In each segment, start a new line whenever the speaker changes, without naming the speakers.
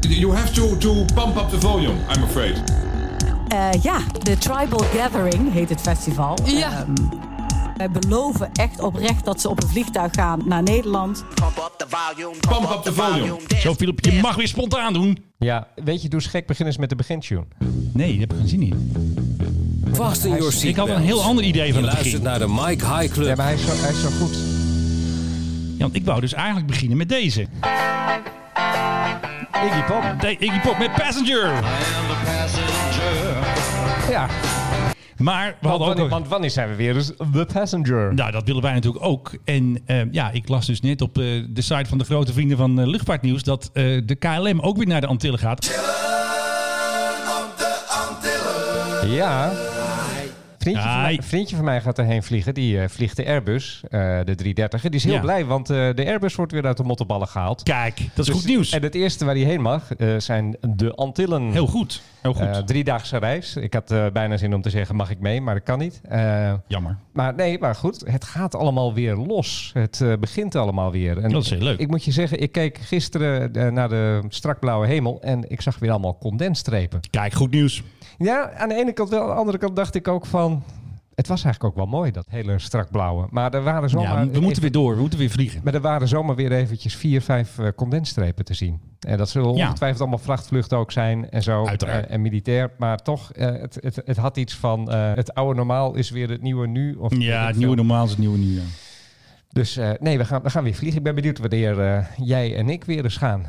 You have to, to pump up the volume, I'm afraid.
Eh, ja, de Tribal Gathering heet het festival.
Ja.
Ehm, wij beloven echt oprecht dat ze op een vliegtuig gaan naar Nederland.
Pump up the volume.
Pump up the volume.
Zo, Filip, je mag weer spontaan doen.
Ja, weet je, doe eens gek beginners met de begintune.
Nee, dat heb ik geen zin in.
Vast in your
Ik had een heel ander idee van
Je
het
luistert
begin.
naar de Mike High Club.
Ja, maar hij is zo, hij is zo goed.
Ja, want ik wou dus eigenlijk beginnen met deze.
Iggy Pop.
De Iggy Pop met Passenger.
Ja.
Maar we hadden
Want,
ook...
wanneer-
nog-
want wanneer zijn we weer? Dus The Passenger.
Nou, dat willen wij natuurlijk ook. En eh, ja, ik las dus net op eh, de site van de grote vrienden van eh, Luchtvaartnieuws... dat eh, de KLM ook weer naar de Antillen gaat.
Ja. Vriendje, van
Hai.
mij, vriendje van mij gaat erheen vliegen. Die eh, vliegt de Airbus, eh, de 330. Die is heel
Ja.
blij, want eh, de Airbus wordt weer uit de mottenballen gehaald.
Kijk, dat is
Dus-
goed nieuws.
En het eerste waar hij heen mag eh, zijn de Antillen.
Heel goed. Heel goed.
Eh, driedaagse reis. Ik had eh, bijna zin om te zeggen, mag ik mee? Maar dat kan niet. Eh,
Jammer.
maar nee, maar goed. Het gaat allemaal weer los. Het eh, begint allemaal weer. En
Dat is heel leuk.
Ik moet je zeggen, ik keek gisteren eh, naar de strakblauwe hemel en ik zag weer allemaal condensstrepen.
Kijk, goed nieuws.
Ja, aan de ene kant wel. Aan de andere kant dacht ik ook van... Het was eigenlijk ook wel mooi, dat hele strakblauwe. Maar er waren zomaar...
Ja, we moeten weer door. We moeten weer vliegen.
Maar er waren zomaar weer eventjes vier, vijf eh, condensstrepen te zien. En dat zullen ongetwijfeld allemaal vrachtvluchten ook zijn en zo.
Uiteraard.
Eh, en militair. Maar toch, eh, het, het, het had iets van eh, het oude normaal is weer het nieuwe nu. Of
Ja, het nieuwe normaal is het nieuwe nu. ja.
Dus eh, nee, we gaan, we gaan weer vliegen. Ik ben benieuwd wanneer eh, jij en ik weer eens gaan.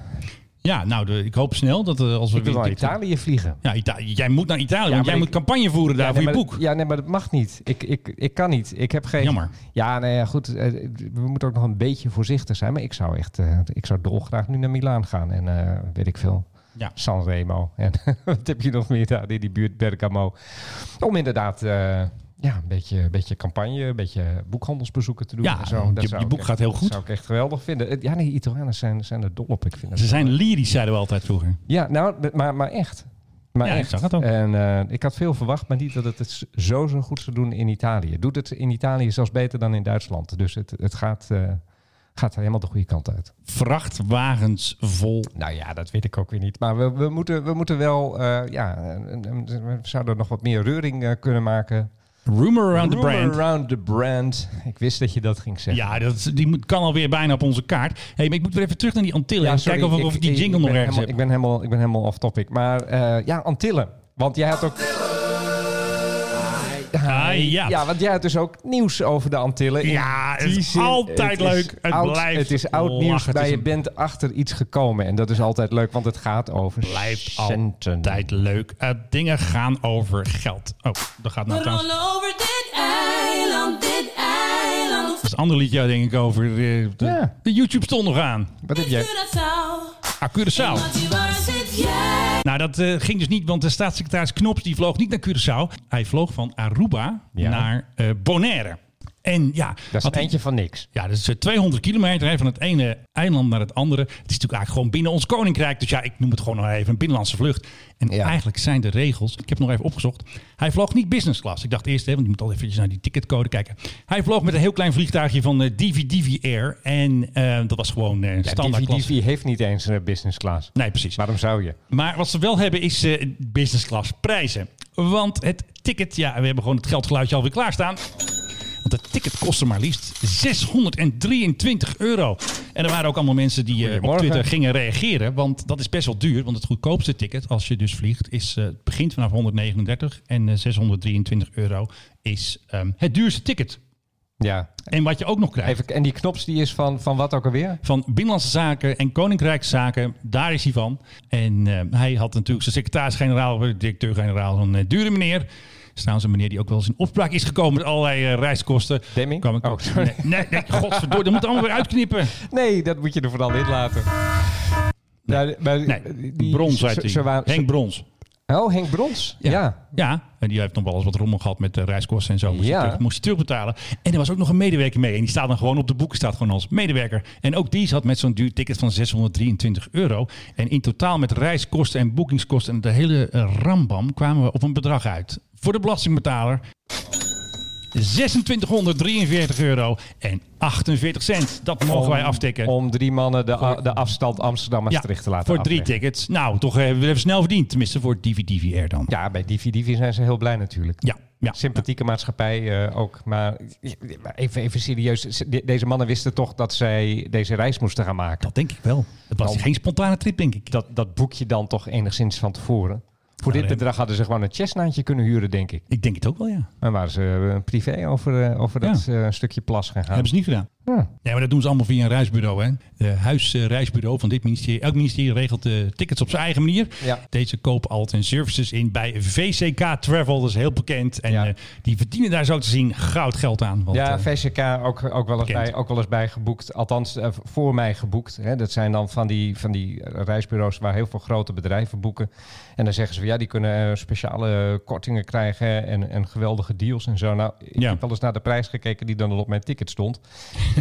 Ja, nou, de- ik hoop snel dat eh, als we
Ik wil
weer...
naar Italië vliegen.
Ja, Ita- jij moet naar Italië, want
maar
jij
ik-
moet campagne voeren daar
ja,
voor
nee,
je
maar-
boek.
Ja, nee, maar dat mag niet. Ik, ik, ik kan niet. Ik heb geen...
Jammer.
Ja, nee, ja, goed. eh, We moeten ook nog een beetje voorzichtig zijn. Maar ik zou echt... eh, ik zou dolgraag nu naar Milaan gaan. En eh, weet ik veel.
Ja.
Sanremo. En wat heb je nog meer daar in die buurt? Bergamo. Om inderdaad... eh, ja, een beetje, een beetje campagne, een beetje boekhandelsbezoeken te doen.
Ja,
en zo.
je-
Dat
je
zou ik
boek
echt-
gaat heel
dat
goed.
zou ik echt geweldig vinden. Eh, Ja, nee, Italianen zijn, zijn er dol op. Ik vind dat
Ze zijn lyrisch, zeiden we altijd vroeger.
ja, nou, d- maar, maar echt. Maar
Ja, ik
echt.
zag het ook.
En eh, ik had veel verwacht, maar niet dat het het s- zo, zo goed zou doen in Italië. Doet het in Italië zelfs beter dan in Duitsland. Dus het, het gaat, eh, gaat helemaal de goede kant uit.
Vrachtwagens vol.
Nou ja, dat weet ik ook weer niet. Maar we, we, moeten, we moeten wel, eh, ja, een- een- we zouden nog wat meer reuring eh, kunnen maken.
Rumor around the
Rumor
brand.
Around the brand. Ik wist dat je dat ging zeggen.
Ja, dat, is- die moet, kan alweer bijna op onze kaart. Hé, hey, maar ik moet weer even terug naar die Antillen. en
sorry,
kijken of ik, of ik die jingle
ik
nog
ben
ergens
helemaal,
heb.
ik ben helemaal, ik ben helemaal off topic. Maar eh, ja, Antillen. Want jij had ook
Ah, ja.
Ja, want jij had dus ook nieuws over de Antillen. In
Ja, het
die
is altijd
is
leuk. Het
oud,
blijft
Het is oud
lachen.
nieuws,
Het
maar
is
je
een-
bent achter iets gekomen. En dat is altijd leuk, want het gaat over
Blijft
centen.
altijd leuk. Eh, dingen gaan over geld. Oh, dat gaat nou trouwens.
over dit eiland, dit eiland.
Dat is een ander liedje, denk ik, over eh, de,
Ja.
de YouTube stond nog aan.
Wat heb jij?
Ah, Curaçao. Nou, dat eh, ging dus niet, want de staatssecretaris Knops die vloog niet naar Curaçao. Hij vloog van Aruba
Ja.
naar eh, Bonaire. En ja,
Dat is
wat-
een eindje van niks.
Ja, dat is eh, 200 kilometer hè, van het ene eiland naar het andere. Het is natuurlijk eigenlijk gewoon binnen ons koninkrijk. Dus ja, ik noem het gewoon nog even een binnenlandse vlucht. En
Ja.
eigenlijk zijn de regels, ik heb het nog even opgezocht. Hij vloog niet business class. Ik dacht eerst, hè, want je moet al eventjes naar die ticketcode kijken. Hij vloog met een heel klein vliegtuigje van eh Divi Divi Air. En eh, dat was gewoon eh
Ja,
standaard
Divi
klasse.
Divi heeft niet eens een business class.
Nee, precies.
Waarom zou je?
Maar wat ze wel hebben is eh, business class prijzen. Want het ticket, ja, we hebben gewoon het geldgeluidje alweer klaarstaan. Want het ticket kostte maar liefst 623 euro. En er waren ook allemaal mensen die eh, op
Goedemorgen.
Twitter gingen reageren. Want dat is best wel duur. Want het goedkoopste ticket, als je dus vliegt, is, eh, het begint vanaf 139. En eh, 623 euro is ehm, het duurste ticket.
Ja.
En wat je ook nog krijgt.
Even, en die knops die is van, van wat ook alweer?
Van Binnenlandse Zaken en Koninkrijkszaken, daar is hij van. En eh, hij had natuurlijk zijn secretaris-generaal, eh, directeur-generaal, een eh, dure meneer. Dat is trouwens een meneer die ook wel eens in opspraak is gekomen met allerlei eh, reiskosten.
Demming?
Kwam ik
Oh,
ook.
sorry.
Nee, nee, nee, godverdomme, dat moet allemaal weer uitknippen.
Nee, dat moet je er vooral in laten. Ja, maar
Nee,
die-
Brons
ze-
uit
ze-
die.
ze waren-
Henk Brons.
Oh, Henk Brons. Ja.
Ja, en die heeft nog wel eens wat rommel gehad met eh, reiskosten en zo. Moest,
Ja.
hij terug, moest hij terugbetalen. En er was ook nog een medewerker mee. En die staat dan gewoon op de boeken, staat gewoon als medewerker. En ook die zat met zo'n duur ticket van 623 euro. En in totaal met reiskosten en boekingskosten en de hele eh, rambam kwamen we op een bedrag uit. Voor de belastingbetaler 2643 euro en 48 cent. Dat mogen wij aftikken.
Om drie mannen de, a- de afstand Amsterdam-Maastricht te laten
voor drie
afleggen.
tickets. Nou, toch hebben we even snel verdiend. Tenminste, voor Divi Divi Air dan.
Ja, bij Divi Divi zijn ze heel blij natuurlijk.
ja. ja.
Sympathieke maatschappij eh, ook. Maar maar even, even serieus. ze- de- Deze mannen wisten toch dat zij deze reis moesten gaan maken.
Dat denk ik wel. Het was
Nou,
geen spontane trip, denk ik.
Dat, dat boek je dan toch enigszins van tevoren. Voor dit
nee.
bedrag hadden ze gewoon een chestnaantje kunnen huren, denk ik.
Ik denk het ook wel, ja.
En waren ze eh, privé over, eh, over dat eh, stukje plas gaan gaan.
Hebben ze niet gedaan. Nee, maar dat doen ze allemaal via een reisbureau. Hè? De huisreisbureau van dit ministerie. Elk ministerie regelt de tickets op zijn eigen manier.
Ja.
Deze kopen altijd hun services in bij VCK Travel. Dat is heel bekend. En
Ja.
eh, die verdienen daar zo te zien goud geld aan. Want,
ja,
eh,
VCK ook, ook, wel eens
bekend.
bij, ook wel eens bij geboekt. Althans, eh, voor mij geboekt. Hè. Dat zijn dan van die, van die reisbureaus waar heel veel grote bedrijven boeken. En dan zeggen ze van ja, die kunnen eh, speciale eh, kortingen krijgen en, en geweldige deals en zo. Nou, ik
Ja.
heb wel eens naar de prijs gekeken die dan al op mijn ticket stond.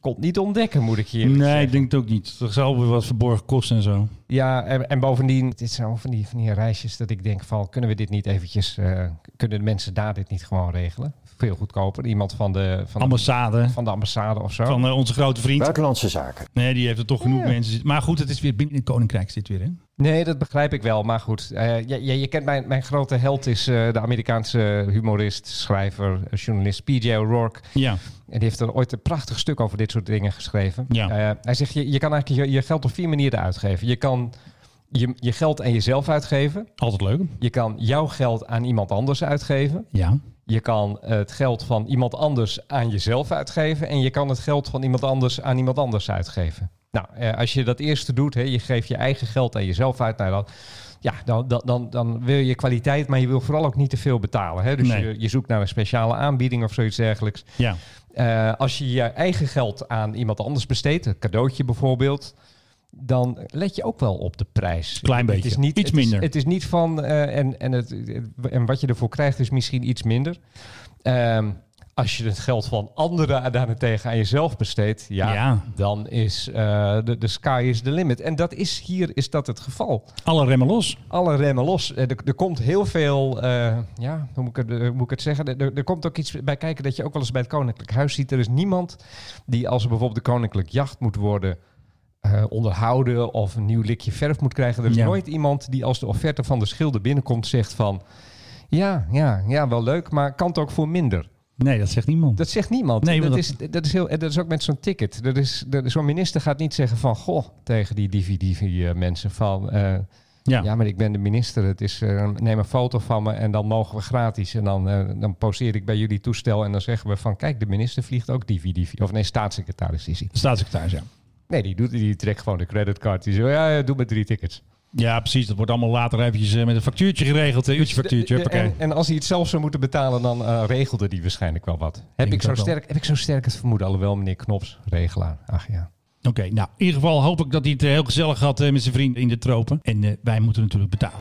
Kon niet ontdekken, moet ik hier.
nee, ik denk het ook niet. Er zal weer wat verborgen kosten en zo.
Ja, en, en bovendien, dit zijn allemaal van die, van die reisjes dat ik denk van, kunnen we dit niet eventjes, eh, kunnen de mensen daar dit niet gewoon regelen? Veel goedkoper. Iemand van de, van de,
Ambassade
van de ambassade of zo.
van eh, onze grote vriend.
Buitenlandse zaken.
Nee, die heeft er toch genoeg mensen. zitten. Maar goed, het is weer binnen het Koninkrijk zit weer. Hè?
Nee, dat begrijp ik wel. Maar goed, eh, je, je, je kent mijn, mijn grote held is eh, de Amerikaanse humorist, schrijver, eh, journalist P.J. O'Rourke.
Ja.
En die heeft er ooit een prachtig stuk over dit soort dingen geschreven.
Ja.
Eh, hij zegt, je, je kan eigenlijk je, je geld op vier manieren uitgeven. Je kan je, je geld aan jezelf uitgeven.
Altijd leuk.
Je kan jouw geld aan iemand anders uitgeven.
Ja.
Je kan eh, het geld van iemand anders aan jezelf uitgeven. En je kan het geld van iemand anders aan iemand anders uitgeven. Nou, eh, als je dat eerste doet, hè, je geeft je eigen geld aan jezelf uit. Nou, dan, ja, dan, dan, dan, dan wil je kwaliteit, maar je wil vooral ook niet te veel betalen. Hè? Dus
Nee.
je, je zoekt naar een speciale aanbieding of zoiets dergelijks.
Ja.
Eh, als je je eigen geld aan iemand anders besteedt, een cadeautje bijvoorbeeld, dan let je ook wel op de prijs.
Klein beetje.
Het is niet,
Iets
het is-
minder.
het is niet van, eh, en, en, het, en wat je ervoor krijgt is misschien iets minder. Ehm, als je het geld van anderen daarentegen aan jezelf besteedt, ja,
Ja.
dan is eh, de, de sky is the limit. En dat is hier is dat het geval.
Alle remmen los.
Alle remmen los. Eh, Er, er komt heel veel, eh, ja, hoe moet ik het, eh, hoe moet ik het zeggen? Er- Er, er komt ook iets bij kijken dat je ook wel eens bij het Koninklijk Huis ziet. Er is niemand die als er bijvoorbeeld de Koninklijk Jacht moet worden eh, onderhouden of een nieuw likje verf moet krijgen. Er is
Ja.
nooit iemand die als de offerte van de schilder binnenkomt zegt van, ja, ja, ja, wel leuk, maar kan het ook voor minder.
Nee, dat zegt niemand.
Dat zegt niemand.
Nee,
dat,
want
is, dat, is heel, en dat is ook met zo'n ticket. Dat is, dat, zo'n minister gaat niet zeggen van... Goh, tegen die divi-divi-mensen van... eh, ja.
ja.
maar ik ben de minister. Het is, eh, neem een foto van me en dan mogen we gratis. En dan, eh, dan poseer ik bij jullie toestel en dan zeggen we van... Kijk, de minister vliegt ook divi-divi. Of nee, staatssecretaris is hij.
Staatssecretaris, ja.
Nee, die, doet, die trekt gewoon de creditcard. Die zegt, ja, ja, doe maar drie tickets.
Ja, precies. Dat wordt allemaal later eventjes eh, met een factuurtje geregeld. Een uurtje factuurtje.
De- de-
Hoppakee.
en, en als hij het zelf zou moeten betalen, dan eh, regelde hij waarschijnlijk wel wat. Heb ik,
dat
zo
wel.
sterk, heb ik zo sterk het vermoeden? Alhoewel, meneer Knops, regelaar. Ach ja.
Oké, nou in ieder geval hoop ik dat hij het eh, heel gezellig had eh, met zijn vrienden in de tropen. En eh, wij moeten natuurlijk betalen.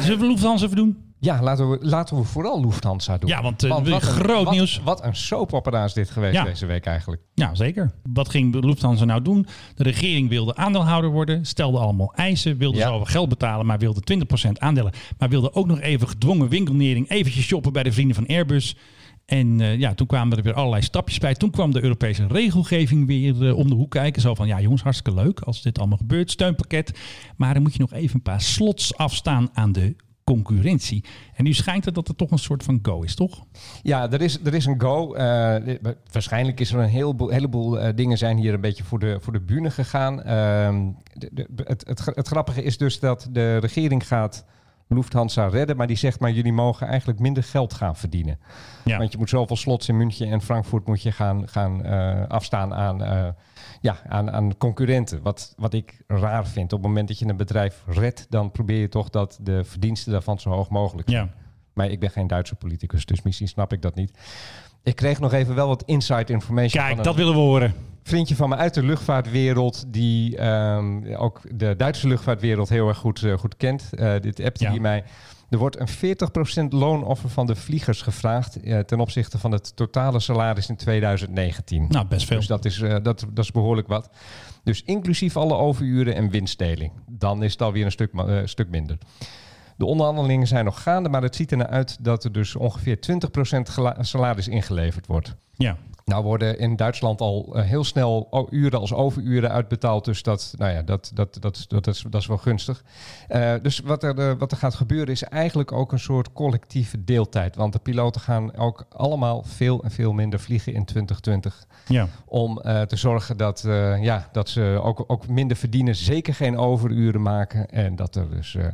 Zullen we Lufthansa even doen?
Ja, laten we, laten we vooral Lufthansa doen.
Ja, want, eh, groot
wat-
nieuws.
Wat een soapopera is dit geweest
Ja.
deze week eigenlijk.
Ja, zeker. Wat ging Lufthansa nou doen? De regering wilde aandeelhouder worden, stelde allemaal eisen, wilde
Ja.
zo geld betalen, maar wilde 20% aandelen. Maar wilde ook nog even gedwongen winkelnering, eventjes shoppen bij de vrienden van Airbus. En eh, ja, toen kwamen er weer allerlei stapjes bij. Toen kwam de Europese regelgeving weer eh, om de hoek kijken. Zo van, ja jongens, hartstikke leuk als dit allemaal gebeurt, steunpakket. Maar dan moet je nog even een paar slots afstaan aan de concurrentie. En nu schijnt het dat er toch een soort van go is, toch?
Ja, er is, er is een go. Eh, waarschijnlijk is er een heleboel, heleboel eh, dingen zijn hier een beetje voor de, voor de bühne gegaan. Ehm, de- de- het, het, gra- het grappige is dus dat de regering gaat Lufthansa redden, maar die zegt maar jullie mogen eigenlijk minder geld gaan verdienen.
Ja.
Want je moet zoveel slots in München en Frankfurt moet je gaan, gaan eh, afstaan aan, eh, ja, aan, aan concurrenten. Wat, wat ik raar vind. Op het moment dat je een bedrijf redt, dan probeer je toch dat de verdiensten daarvan zo hoog mogelijk zijn.
Ja.
Maar ik ben geen Duitse politicus, dus misschien snap ik dat niet. Ik kreeg nog even wel wat inside information van
Kijk,
een
dat willen we horen.
vriendje van me uit de luchtvaartwereld... die ehm, ook de Duitse luchtvaartwereld heel erg goed, eh, goed kent. Eh, dit appte
Ja.
hij mij. Er wordt een 40% loonoffer van de vliegers gevraagd... eh, ten opzichte van het totale salaris in 2019.
Nou, best veel.
Dus dat is, eh, dat, dat is behoorlijk wat. Dus inclusief alle overuren en winstdeling. Dan is het alweer een stuk, ma- eh, stuk minder. De onderhandelingen zijn nog gaande, maar het ziet ernaar uit dat er dus ongeveer 20% gela- salaris ingeleverd wordt.
Ja.
Nou worden in Duitsland al eh, heel snel o- uren als overuren uitbetaald. Dus dat, nou ja, dat, dat, dat, dat, is, dat is wel gunstig. Eh, dus wat er, eh, wat er gaat gebeuren is eigenlijk ook een soort collectieve deeltijd. Want de piloten gaan ook allemaal veel en veel minder vliegen in 2020.
ja.
Om eh, te zorgen dat, eh, ja, dat ze ook, ook minder verdienen. Zeker geen overuren maken. En dat er dus eh,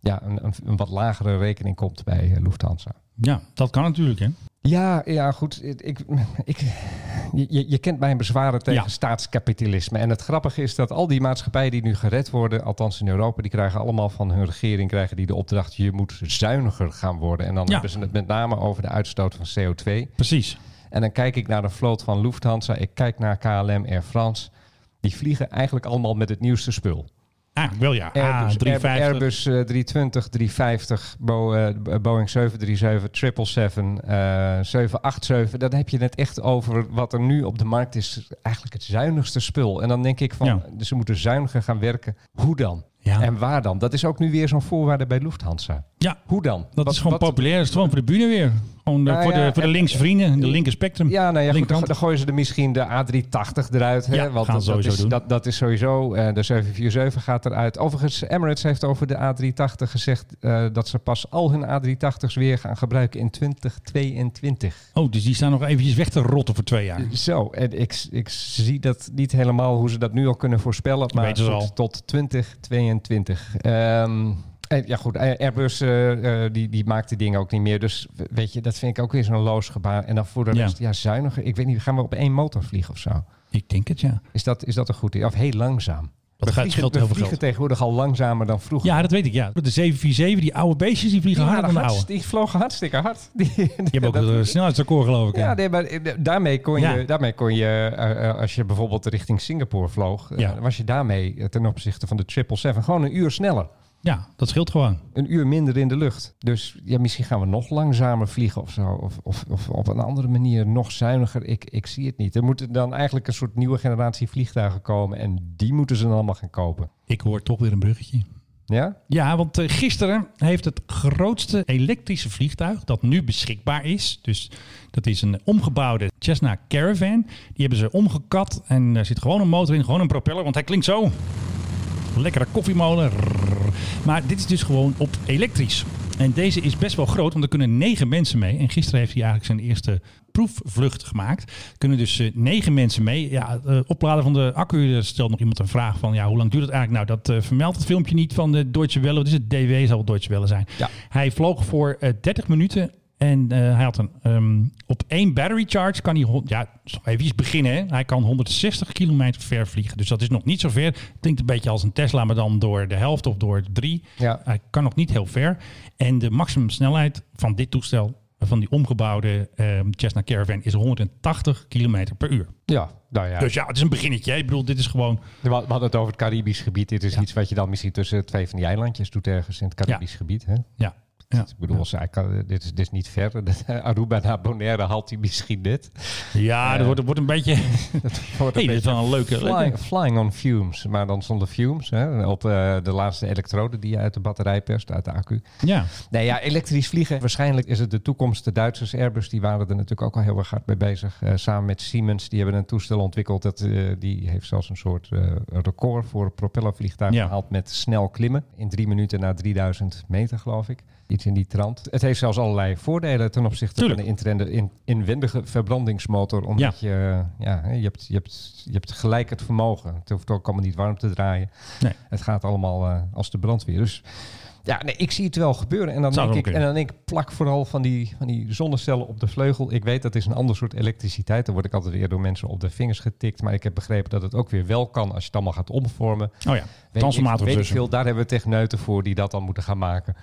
ja, een, een, een wat lagere rekening komt bij eh, Lufthansa.
Ja, dat kan natuurlijk, hè?
Ja, ja, goed. Ik, ik, je, je kent mijn bezwaren tegen
Ja.
staatskapitalisme. En het grappige is dat al die maatschappijen die nu gered worden, althans in Europa, die krijgen allemaal van hun regering krijgen die de opdracht: je moet zuiniger gaan worden. En dan
Ja.
hebben ze het met name over de uitstoot van CO2.
Precies.
En dan kijk ik naar de vloot van Lufthansa, ik kijk naar KLM, Air France. Die vliegen eigenlijk allemaal met het nieuwste spul.
Eigenlijk wel, ja.
Airbus,
ah, 350.
Airbus eh, 320, 350, Bo- eh, Boeing 737, 777, eh 787. Dan heb je het echt over wat er nu op de markt is. Eigenlijk het zuinigste spul. En dan denk ik van, dus
Ja.
ze moeten zuiniger gaan werken. Hoe dan?
Ja.
En waar dan? Dat is ook nu weer zo'n voorwaarde bij Lufthansa.
Ja,
Hoe dan?
dat
Wat-
is gewoon
wat-
populair. Dat is gewoon voor de bühne weer. Gewoon eh,
Nou
voor,
ja,
de, voor de
en- eh,
linkse vrienden, de linker spectrum.
Ja, nou ja, goed, dan,
Linkerkant.
dan gooien ze er misschien de A380 eruit. Hè?
Ja,
want
gaan
dat,
ze
dat
sowieso
is,
doen.
Dat, dat is sowieso. eh, de 747 gaat eruit. Overigens, Emirates heeft over de A380 gezegd eh, dat ze pas al hun A380's weer gaan gebruiken in 2022.
Oh, dus die staan nog eventjes weg te rotten voor twee jaar.
Zo, en ik, ik zie dat niet helemaal hoe ze dat nu al kunnen voorspellen. Maar
weten ze
goed,
al.
tot 2022. Ehm, en ja goed, Airbus eh, eh, die, die maakt die dingen ook niet meer. Dus weet je, dat vind ik ook weer zo'n loos gebaar. En dan voor de
Ja.
rest, ja zuiniger. Ik weet niet, gaan we op één motor vliegen of zo?
Ik denk het, ja.
Is dat, is dat een goed idee? Of heel langzaam?
Dat gaat,
Vliegen,
scheelt
we
heel veel
vliegen
geld.
tegenwoordig al langzamer dan vroeger.
Ja, dat weet ik, ja. De 747, die oude beestjes, die vliegen
die,
harder dan de
waren
oude.
hartst- die vlogen hartstikke hard. Die,
Je hebt ook
dat-
een snelheidsrecord, geloof ik. hè?
ja, nee, maar eh, daarmee kon je,
Ja.
daarmee kon je eh, eh, als je bijvoorbeeld richting Singapore vloog, eh,
Ja.
was je daarmee eh, ten opzichte van de 777 gewoon een uur sneller.
ja, dat scheelt gewoon.
Een uur minder in de lucht. Dus ja, misschien gaan we nog langzamer vliegen of zo. Of, of, of op een andere manier nog zuiniger. Ik, ik zie het niet. Er moeten dan eigenlijk een soort nieuwe generatie vliegtuigen komen. En die moeten ze dan allemaal gaan kopen.
Ik hoor toch weer een bruggetje.
Ja?
Ja, want eh, gisteren heeft het grootste elektrische vliegtuig dat nu beschikbaar is. Dus dat is een omgebouwde Cessna Caravan. Die hebben ze omgekat en er zit gewoon een motor in, gewoon een propeller. Want hij klinkt zo. Lekkere koffiemolen. Rrr. Maar dit is dus gewoon op elektrisch. En deze is best wel groot, want er kunnen negen mensen mee. En gisteren heeft hij eigenlijk zijn eerste proefvlucht gemaakt. Er kunnen dus eh, negen mensen mee. Ja, eh, opladen van de accu, daar stelt nog iemand een vraag van... ja, hoe lang duurt het eigenlijk? Nou, dat eh, vermeldt het filmpje niet van de Deutsche Welle. Wat is het? DW zal wel Deutsche Welle zijn.
Ja.
Hij vloog voor eh, 30 minuten en eh, hij had een, ehm, op één battery charge kan hij, hon- ja, even beginnen. Hè? Hij kan 160 kilometer ver vliegen. Dus dat is nog niet zo ver. Klinkt een beetje als een Tesla, maar dan door de helft of door drie.
Ja.
Hij kan nog niet heel ver. En de maximum snelheid van dit toestel, eh, van die omgebouwde ehm Cessna Caravan, is 180 kilometer per uur.
Ja, nou ja.
Dus ja, het is een beginnetje. hè. Ik bedoel, dit is gewoon
We we hadden het over het Caribisch gebied. Dit is
Ja.
iets wat je dan misschien tussen twee van die eilandjes doet ergens in het Caribisch gebied. Hè?
Ja. Ja.
Ik bedoel, als hij kan- dit, is, dit is niet ver. Dat eh, Aruba naar Bonaire haalt hij misschien dit.
Ja, dat
Eh.
wordt, het wordt een beetje...
Wordt
hey, dit
een
is
beetje
wel een leuke... leuke-
flying, flying on fumes, maar dan zonder fumes. Hè? Op eh, de laatste elektroden die je uit de batterij perst, uit de accu.
Ja. Oh
Nee, ja, elektrisch vliegen. Waarschijnlijk is het de toekomst. De Duitsers, Airbus, die waren er natuurlijk ook al heel erg hard mee bezig. Eh, samen met Siemens, die hebben een toestel ontwikkeld. Dat, eh, die heeft zelfs een soort eh, record voor een propellervliegtuig
Ja.
gehaald met snel klimmen. In drie minuten naar 3000 meter, geloof ik. Iets in die trant. Het heeft zelfs allerlei voordelen ten opzichte
Tuurlijk.
van de intrende- in, inwendige verbrandingsmotor. Omdat je, eh, ja, hè, je, hebt, je, hebt, je hebt gelijk het vermogen. Het hoeft ook allemaal niet warm te draaien.
Nee.
Het gaat allemaal eh, als de brandweer. Dus ja, nee, ik zie het wel gebeuren. En dan,
Zou
denk
wel
ik, en
kunnen.
dan denk ik, plak vooral van die, van die zonnecellen op de vleugel. Ik weet, dat is een ander soort elektriciteit. Dan word ik altijd weer door mensen op de vingers getikt. Maar ik heb begrepen dat het ook weer wel kan als je het allemaal gaat omvormen.
Oh ja,
Weet ik,
transformator dus.
weet ik
tussen.
veel, daar hebben we techneuten voor die dat dan moeten gaan maken.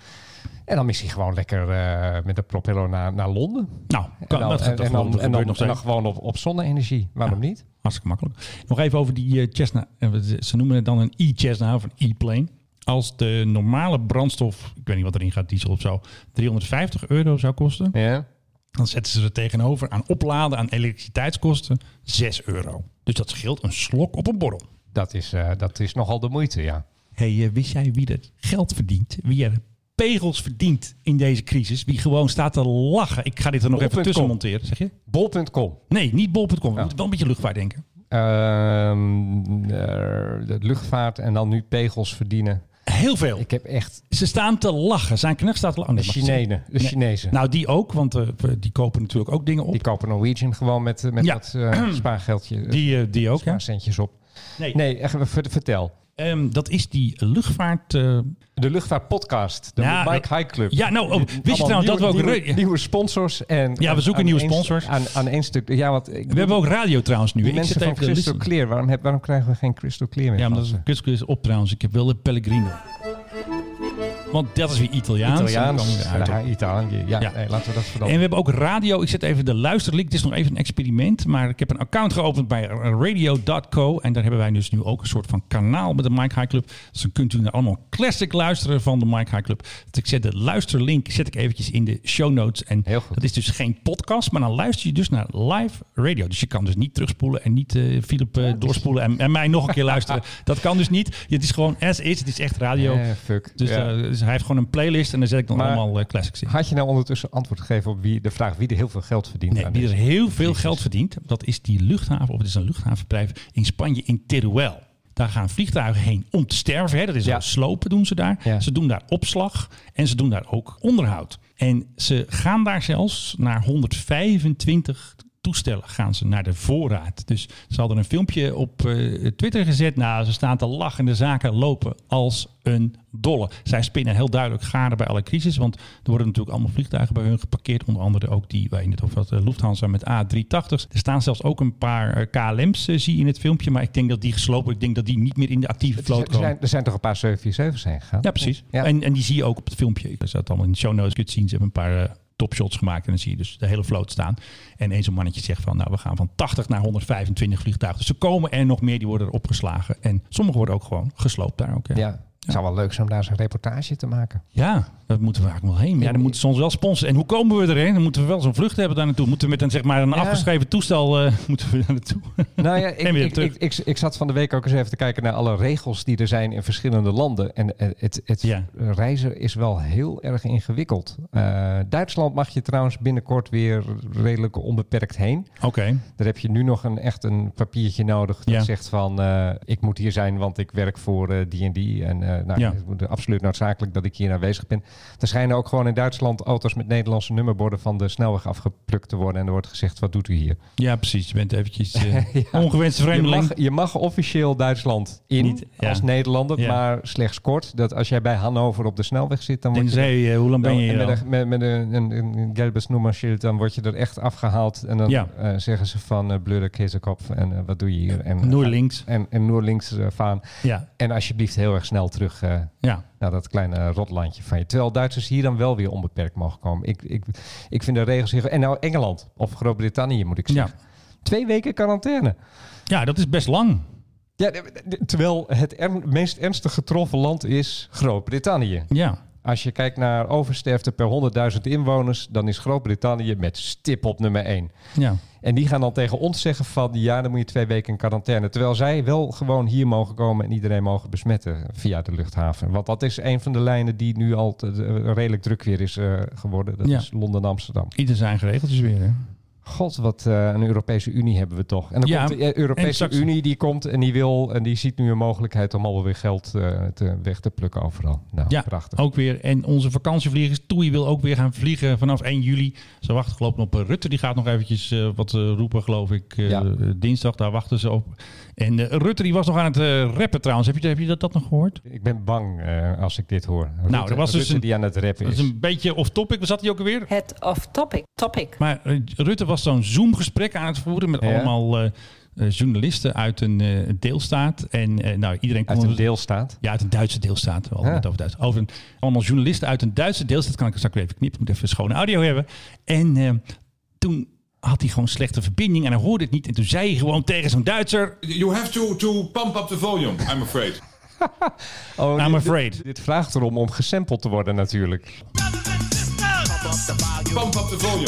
En dan misschien gewoon lekker eh, met de propeller naar, naar Londen.
Nou,
En
kan,
dan,
dat,
en,
dat,
en dan,
gebeurt
en dan,
nog
en
steeds.
dan gewoon op, op zonne-energie. Waarom niet?
Hartstikke makkelijk. Nog even over die eh, Cessna. Eh, we- Ze noemen het dan een e-Cessna of een e-plane. Als de normale brandstof, ik weet niet wat erin gaat, diesel of zo, 350 euro zou kosten,
Ja.
dan zetten ze er tegenover aan opladen, aan elektriciteitskosten, 6 euro. Dus dat scheelt een slok op een borrel.
Dat, is, eh, dat is nogal de moeite, ja.
hey, eh, wist jij wie er geld verdient? Wie er pegels verdient in deze crisis. Wie gewoon staat te lachen. Ik ga dit er nog even
Bol.com.
tussen monteren, zeg je?
Bol.com.
Nee, niet bol.com. We moeten wel een beetje luchtvaart denken.
Ehm, eh, de luchtvaart en dan nu pegels verdienen.
Heel veel.
Ik heb echt
Ze staan te lachen. Zijn knecht staat te lachen. Oh,
de
Nee, mag ik
Chinezen. De
Nee.
Chinezen.
Nou, die ook, want eh, die kopen natuurlijk ook dingen op.
Die
Die,
kopen Norwegian gewoon met, eh, met
Ja.
dat eh, spaargeldje. eh,
eh, die ook, ja.
spaarcentjes op.
Nee,
Nee, echt, eh, ver- vertel.
ehm, dat is die luchtvaart... eh,
De luchtvaartpodcast. De
Ja,
Mike High Club.
ja, nou, oh, wist je
Allemaal
trouwens dat we ook...
nieuwe,
re-
nieuwe, nieuwe sponsors en
Ja, we zoeken
aan
nieuwe
één-
sponsors.
Aan, aan één stuk. Ja, want ik,
we hebben ook radio trouwens nu.
die
Ik
mensen
zit
van
even te
Crystal
luisteren.
Clear. Waarom, heb, waarom krijgen we geen Crystal Clear meer?
Ja, maar
van
dat is
ze?
kut is op trouwens. Ik heb wel de Pellegrino. Want dat is weer Italiaans. Dan
Italiaans.
komen we eruit op.
Ja, Italië. Ja,
Ja.
nee, laten we
En
dat veranderen.
we hebben ook radio. Ik zet even de luisterlink. Het is nog even een experiment. Maar ik heb een account geopend bij radio.co. En daar hebben wij dus nu ook een soort van kanaal met de Mike High Club. Dus dan kunt u naar allemaal classic luisteren van de Mike High Club. Dus ik zet de luisterlink zet ik eventjes in de show notes. En
Heel goed.
dat is dus geen podcast. Maar dan luister je dus naar live radio. Dus je kan dus niet terugspoelen en niet eh Philip eh,
dus-
doorspoelen en, en mij nog een keer luisteren. Dat kan dus niet. Het is gewoon as is. Het is echt radio.
Eh, fuck.
Dus,
Ja.
eh, dus hij heeft gewoon een playlist en daar zet ik dan
Maar-
allemaal eh, classics in.
Had je nou ondertussen antwoord gegeven op wie, de vraag wie er heel veel geld verdient?
Nee,
aan
die er
deze?
heel veel geld verdient, dat is die luchthaven, of het is een luchthavenbedrijf in Spanje, in Teruel. Daar gaan vliegtuigen heen om te sterven. Hè. Dat is
Ja.
al slopen doen ze daar.
Ja.
Ze doen daar opslag en ze doen daar ook onderhoud. En ze gaan daar zelfs naar 125 toestellen gaan ze naar de voorraad. Dus ze hadden een filmpje op eh, Twitter gezet. Nou, ze staan te lachen en de zaken lopen als een dolle. Zij spinnen heel duidelijk garen bij alle crisis. Want er worden natuurlijk allemaal vliegtuigen bij hun geparkeerd. Onder andere ook die waar je net over had, eh, Lufthansa met A380's. Er staan zelfs ook een paar eh, KLM's, eh, zie je in het filmpje. Maar ik denk dat die geslopen, ik denk dat die niet meer in de actieve
Er
vloot
zijn- er
komen.
zijn, er zijn toch een paar 747's heen gegaan?
Ja, precies.
Ja.
En, en die zie je ook op het filmpje. Ik zat allemaal in de show notes. Je kunt zien, ze hebben een paar eh, topshots gemaakt. En dan zie je dus de hele vloot staan. En eens een mannetje zegt van, nou, we gaan van 80 naar 125 vliegtuigen. Dus er komen er nog meer, die worden er opgeslagen. En sommige worden ook gewoon gesloopt daar ook. Ja,
Ja. Het zou wel leuk zijn om daar zo'n reportage te maken.
ja dat moeten we eigenlijk wel heen. Maar ja, dan moeten ze ons wel sponsoren. En hoe komen we erheen? Dan moeten we wel zo'n vlucht hebben daar naartoe. Moeten we met een, zeg maar, een afgeschreven toestel eh, moeten we daar naartoe?
Nou ja,
En
ik,
weer
ik,
terug.
ik, ik, ik zat van de week ook eens even te kijken naar alle regels die er zijn in verschillende landen. En eh, het, het
Ja.
reizen is wel heel erg ingewikkeld. Eh, Duitsland mag je trouwens binnenkort weer redelijk onbeperkt heen.
Oké.
Daar heb je nu nog een, echt een papiertje nodig dat
Ja.
zegt van eh, ik moet hier zijn, want ik werk voor eh, die en die. En eh, nou,
Ja.
het moet absoluut noodzakelijk dat ik hier aanwezig ben. Er schijnen ook gewoon in Duitsland auto's met Nederlandse nummerborden van de snelweg afgeplukt te worden. En er wordt gezegd, wat doet u hier?
Ja, precies. Je bent eventjes eh, ongewenste
Je
vreemdeling.
mag, je mag officieel Duitsland in
Niet, ja.
als Nederlander,
Ja.
maar slechts kort. Dat als jij bij Hannover op de snelweg zit, dan word je...
Tenzij, eh, hoe lang ben je
en
hier al?
met, een, met, met een, een, een gelbes nummerschild, dan word je er echt afgehaald. En dan
Ja.
eh, zeggen ze van eh blöde Kesekop en eh, wat doe je hier? En,
Noor links.
En, en Noorlinks eh, vaan.
Ja,
En alsjeblieft heel erg snel terug eh,
ja.
naar dat kleine rotlandje van je. Terwijl Duitsers hier dan wel weer onbeperkt mogen komen. Ik, ik, ik vind de regels hier... En nou Engeland of Groot-Brittannië moet ik zeggen. Twee weken quarantaine.
Ja, dat is best lang.
Ja, d- d- terwijl het er- meest ernstig getroffen land is Groot-Brittannië.
Ja.
Als je kijkt naar oversterfte per 100.000 inwoners, dan is Groot-Brittannië met stip op nummer 1.
Ja.
En die gaan dan tegen ons zeggen van ja, dan moet je twee weken in quarantaine. Terwijl zij wel gewoon hier mogen komen en iedereen mogen besmetten via de luchthaven. Want dat is een van de lijnen die nu al te- eh, redelijk druk weer is eh, geworden. Dat
Ja.
is Londen-Amsterdam.
Ieder zijn geregeltjes weer. Hè?
God, wat eh, een Europese Unie hebben we toch. En dan
Ja,
komt de eh,
en
Europese
straks-
Unie die komt en die wil en die ziet nu een mogelijkheid om alweer geld eh, te, weg te plukken overal. Nou,
Ja,
prachtig.
ook weer. En onze vakantievliegers, Toei wil ook weer gaan vliegen vanaf 1 juli. Ze wachten geloof ik op eh, Rutte. Die gaat nog eventjes eh, wat eh, roepen, geloof ik. eh,
Ja.
eh, Dinsdag, daar wachten ze op. En eh, Rutte die was nog aan het eh, rappen trouwens. Heb je, heb je dat, dat nog gehoord?
Ik ben bang eh, als ik dit hoor.
er was dus
Rutte
een-
die aan het rappen
Dat
is.
is een beetje off-topic. Waar zat hij ook alweer?
Het off-topic. Topic.
Maar eh, Rutte was zo'n Zoom-gesprek aan het voeren met
Ja.
allemaal eh, eh, journalisten uit een eh, deelstaat. En eh, nou, iedereen kon
Uit een
dus-
deelstaat.
Ja, uit een Duitse deelstaat. We hadden
Ja.
het over, Duits. over een, allemaal journalisten uit een Duitse deelstaat. Kan ik straks weer even knippen. Ik moet even schone audio hebben. En eh, toen had hij gewoon slechte verbinding en hij hoorde het niet. En toen zei hij gewoon tegen zo'n Duitser...
You have to, to pump up the volume, I'm afraid.
Oh,
I'm
dit-
afraid.
Dit vraagt erom om gesampled te worden natuurlijk.
Pump up the volume.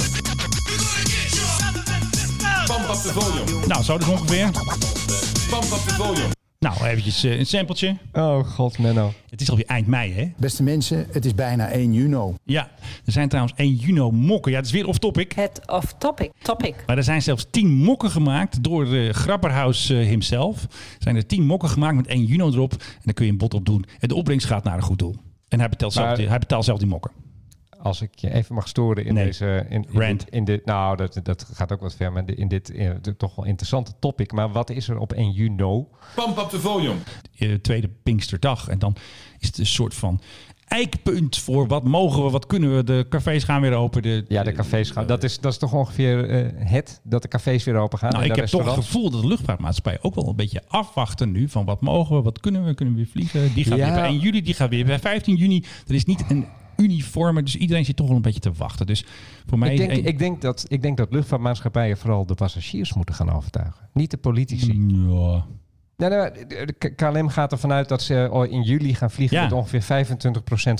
Pump up the volume.
Nou, zo dus ongeveer.
Pump up the volume.
Nou, eventjes eh, een sampletje.
Oh god, Menno.
Het is alweer eind mei, hè?
Beste mensen, het is bijna 1 juni.
Ja, er zijn trouwens 1 Juno mokken. Ja, het is weer off-topic.
Het off topic. Topic.
Maar er zijn zelfs 10 mokken gemaakt door eh Grapperhaus eh, himself. Zijn er 10 mokken gemaakt met 1 Juno erop. En daar kun je een bod op doen. En de opbrengst gaat naar een goed doel. En hij betaalt, zelf,
Maar-
die, hij betaalt zelf die mokken.
Als ik je even mag storen in
Nee.
deze... In, in,
Rant.
dit- in dit- nou, dat, dat gaat ook wat ver, maar in dit eh, toch wel interessante topic. Maar wat is er op 1 juni?
Pump up the volume.
eh, tweede Pinksterdag. En dan is het een soort van eikpunt voor wat mogen we, wat kunnen we. De cafés gaan weer open. De,
Ja, de cafés gaan. Dat is, dat is toch ongeveer eh, het, dat de cafés weer open gaan.
nou,
en
ik
de
heb toch het
restaurants.
gevoel dat de luchtvaartmaatschappij ook wel een beetje afwachten nu. Van wat mogen we, wat kunnen we, kunnen we weer vliegen. Die gaat
Ja.
weer bij 1 juli, die gaat weer bij 15 juni. Er is niet een uniforme, dus iedereen zit toch wel een beetje te wachten. Dus voor mij...
Ik denk,
eh,
ik, denk dat, ik denk dat luchtvaartmaatschappijen vooral de passagiers moeten gaan overtuigen. Niet de politici.
ja.
Nou, nou, de- de K- KLM gaat ervan uit dat ze oh, in juli gaan vliegen
Ja.
met ongeveer 25%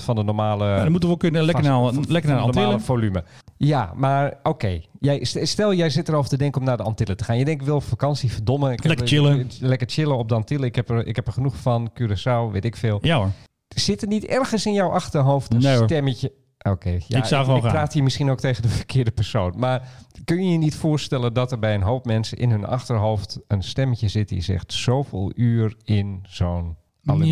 van de normale...
Nou, dan moeten we kunnen lekker
Eh, vast-
naar,
van-
lekker naar de
van normale
Antillen.
volume. Ja, maar oké. Jij- st- Stel, jij zit erover te denken om naar de Antillen te gaan. Je denkt, ik wil op vakantie, verdomme. Ik heb-
Lekker chillen.
ik- Lekker chillen op de Antillen. Ik heb er, ik heb er genoeg van. Curaçao, weet ik veel.
Ja hoor.
Zit er niet ergens in jouw achterhoofd een
Nee, hoor.
stemmetje... Oké, ja,
Ik zou gewoon
ik
gaan.
praat hier misschien ook tegen de verkeerde persoon. Maar kun je je niet voorstellen dat er bij een hoop mensen in hun achterhoofd een stemmetje zit die zegt zoveel uur in zo'n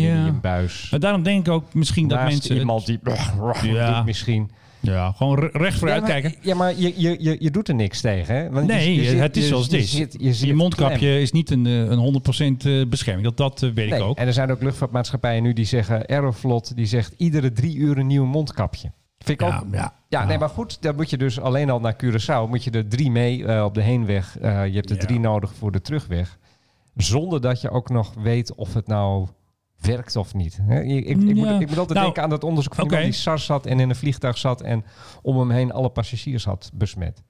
aluminiumbuis.
Maar daarom denk ik ook misschien dat
Naast
mensen...
iemand die
Ja.
doet misschien.
Ja, gewoon re- recht vooruit
ja, maar,
kijken.
ja, maar je, je, je, je doet er niks tegen. Hè? Want
Nee,
je- je zit-
het is
je-
zoals het
je
is.
zit- je
Je
zit
mondkapje
klem.
is niet een, eh, een 100% eh, bescherming. Dat, dat eh, weet
Nee,
ik ook.
En er zijn ook luchtvaartmaatschappijen nu die zeggen, Aeroflot, die zegt iedere drie uur een nieuw mondkapje. Vind ik
Ja,
ook
Oh.
ja.
Ja, nee, maar goed, dan moet je dus alleen al naar Curaçao. Moet je er drie mee eh, op de heenweg. Eh, je hebt er
Ja.
drie nodig voor de terugweg. Zonder dat je ook nog weet of het nou werkt of niet. Hè, Ik, ik, ik, moet,
Ja.
ik moet altijd
Nou,
denken aan dat onderzoek van
oké.
iemand die SARS had en in een vliegtuig zat en om hem heen alle passagiers had besmet.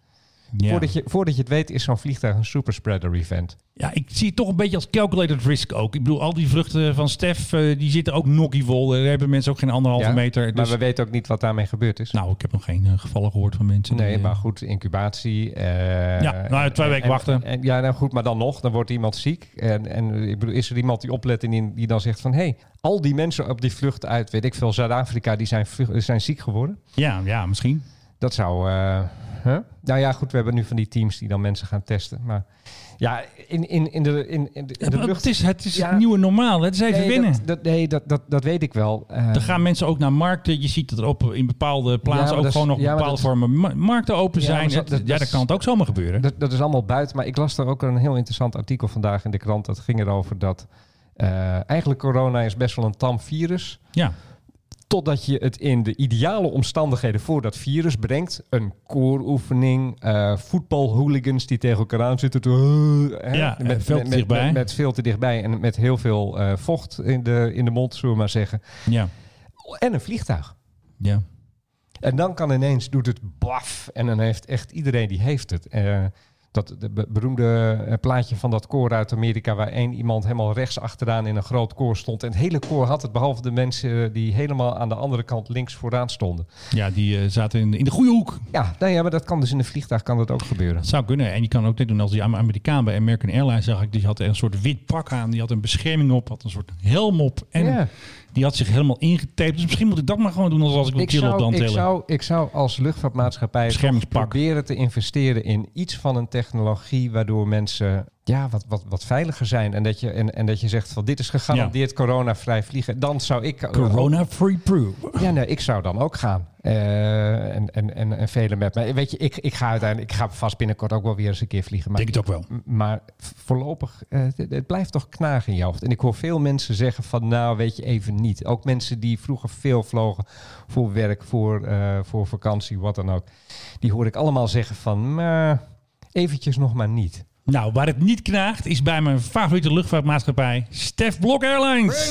Ja.
Voordat, je, voordat je het weet is zo'n vliegtuig een superspreader event.
Ja, ik zie het toch een beetje als calculated risk ook. Ik bedoel, al die vruchten van Stef, eh, die zitten ook nokkievol. Daar hebben mensen ook geen anderhalve
Ja,
meter.
Maar
Dus,
we weten ook niet wat daarmee gebeurd is.
Nou, ik heb nog geen eh, gevallen gehoord van mensen. die,
Nee,
eh,
maar goed, incubatie. eh,
Ja, nou, twee
en-
weken
en-
wachten.
en- ja, nou goed, maar dan nog, dan wordt iemand ziek. En, en ik bedoel, is er iemand die oplet en die, die dan zegt van... hé, hey, al die mensen op die vlucht uit, weet ik veel, Zuid-Afrika... die zijn, vlug- zijn ziek geworden.
Ja, ja, misschien.
Dat zou... eh, hè? Nou ja, goed, we hebben nu van die teams die dan mensen gaan testen. Maar ja, in, in, in de, in, in de, in
Ja,
de
maar
lucht...
Het is het, is
Ja.
het nieuwe normaal. Het is even
nee,
winnen.
Dat, dat, nee, dat, dat, dat weet ik wel. Eh,
Dan gaan mensen ook naar markten. Je ziet dat er op, eh, in bepaalde
maar
plaatsen
dat
ook
is-
gewoon nog
ja, maar
bepaalde
dat-
vormen ma- markten open
Ja, maar
zijn.
dat-
Het-
dat-
ja,
dat
dat
is-
kan het ook zomaar gebeuren.
Dat, dat is allemaal buiten. Maar ik las daar ook een heel interessant artikel vandaag in de krant. Dat ging erover dat eh, eigenlijk corona is best wel een tam virus.
ja.
Totdat je het in de ideale omstandigheden voor dat virus brengt. Een kooroefening, eh voetbalhooligans die tegen elkaar aan zitten. te- hè,
Ja, eh, veel te
met,
dichtbij.
Met, met veel te dichtbij en met heel veel eh, vocht in de, in de mond, zullen we maar zeggen.
ja,
En een vliegtuig.
ja.
En dan kan ineens, doet het blaf. En dan heeft echt iedereen, die heeft het. Eh, dat de be- beroemde eh, plaatje van dat koor uit Amerika... waar één iemand helemaal rechts achteraan in een groot koor stond. En het hele koor had het, behalve de mensen eh, die helemaal aan de andere kant links vooraan stonden.
Ja, die eh, zaten in, in de goede hoek.
Ja, nou ja, maar dat kan dus in een vliegtuig kan dat ook gebeuren.
Dat zou kunnen. En je kan ook dit doen als die Amer- Amerikaan bij American Airlines zag ik. Die had een soort wit pak aan. Die had een bescherming op. Had een soort helm op. En
Ja.
die had zich helemaal ingetaped. Dus misschien moet ik dat maar gewoon doen als, als ik wil
Ik
chillen op de
zou, ik,
Antillen.
zou, ik zou als luchtvaartmaatschappij toch
Beschermingspak.
proberen te investeren in iets van een technologie waardoor mensen ja, wat, wat, wat veiliger zijn. En dat, je, en, en dat je zegt van dit is gegarandeerd coronavrij vliegen. Dan zou ik.
Corona free proof.
Ja, nee, ik zou dan ook gaan. Eh, en, en, en, en velen met mij. Weet je, ik, ik ga uiteindelijk, ik ga vast binnenkort ook wel weer eens een keer vliegen. Maar
Denk het ook wel.
M- Maar v- voorlopig, eh, het, het blijft toch knagen in je hoofd. En ik hoor veel mensen zeggen van, nou weet je even niet. Ook mensen die vroeger veel vlogen voor werk, voor, eh, voor vakantie, wat dan ook. Die hoor ik allemaal zeggen van, maar eventjes nog maar niet.
Nou, waar het niet knaagt is bij mijn favoriete luchtvaartmaatschappij. Stef Blok Airlines.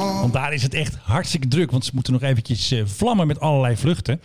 Want daar is het echt hartstikke druk. Want ze moeten nog eventjes eh, vlammen met allerlei vluchten.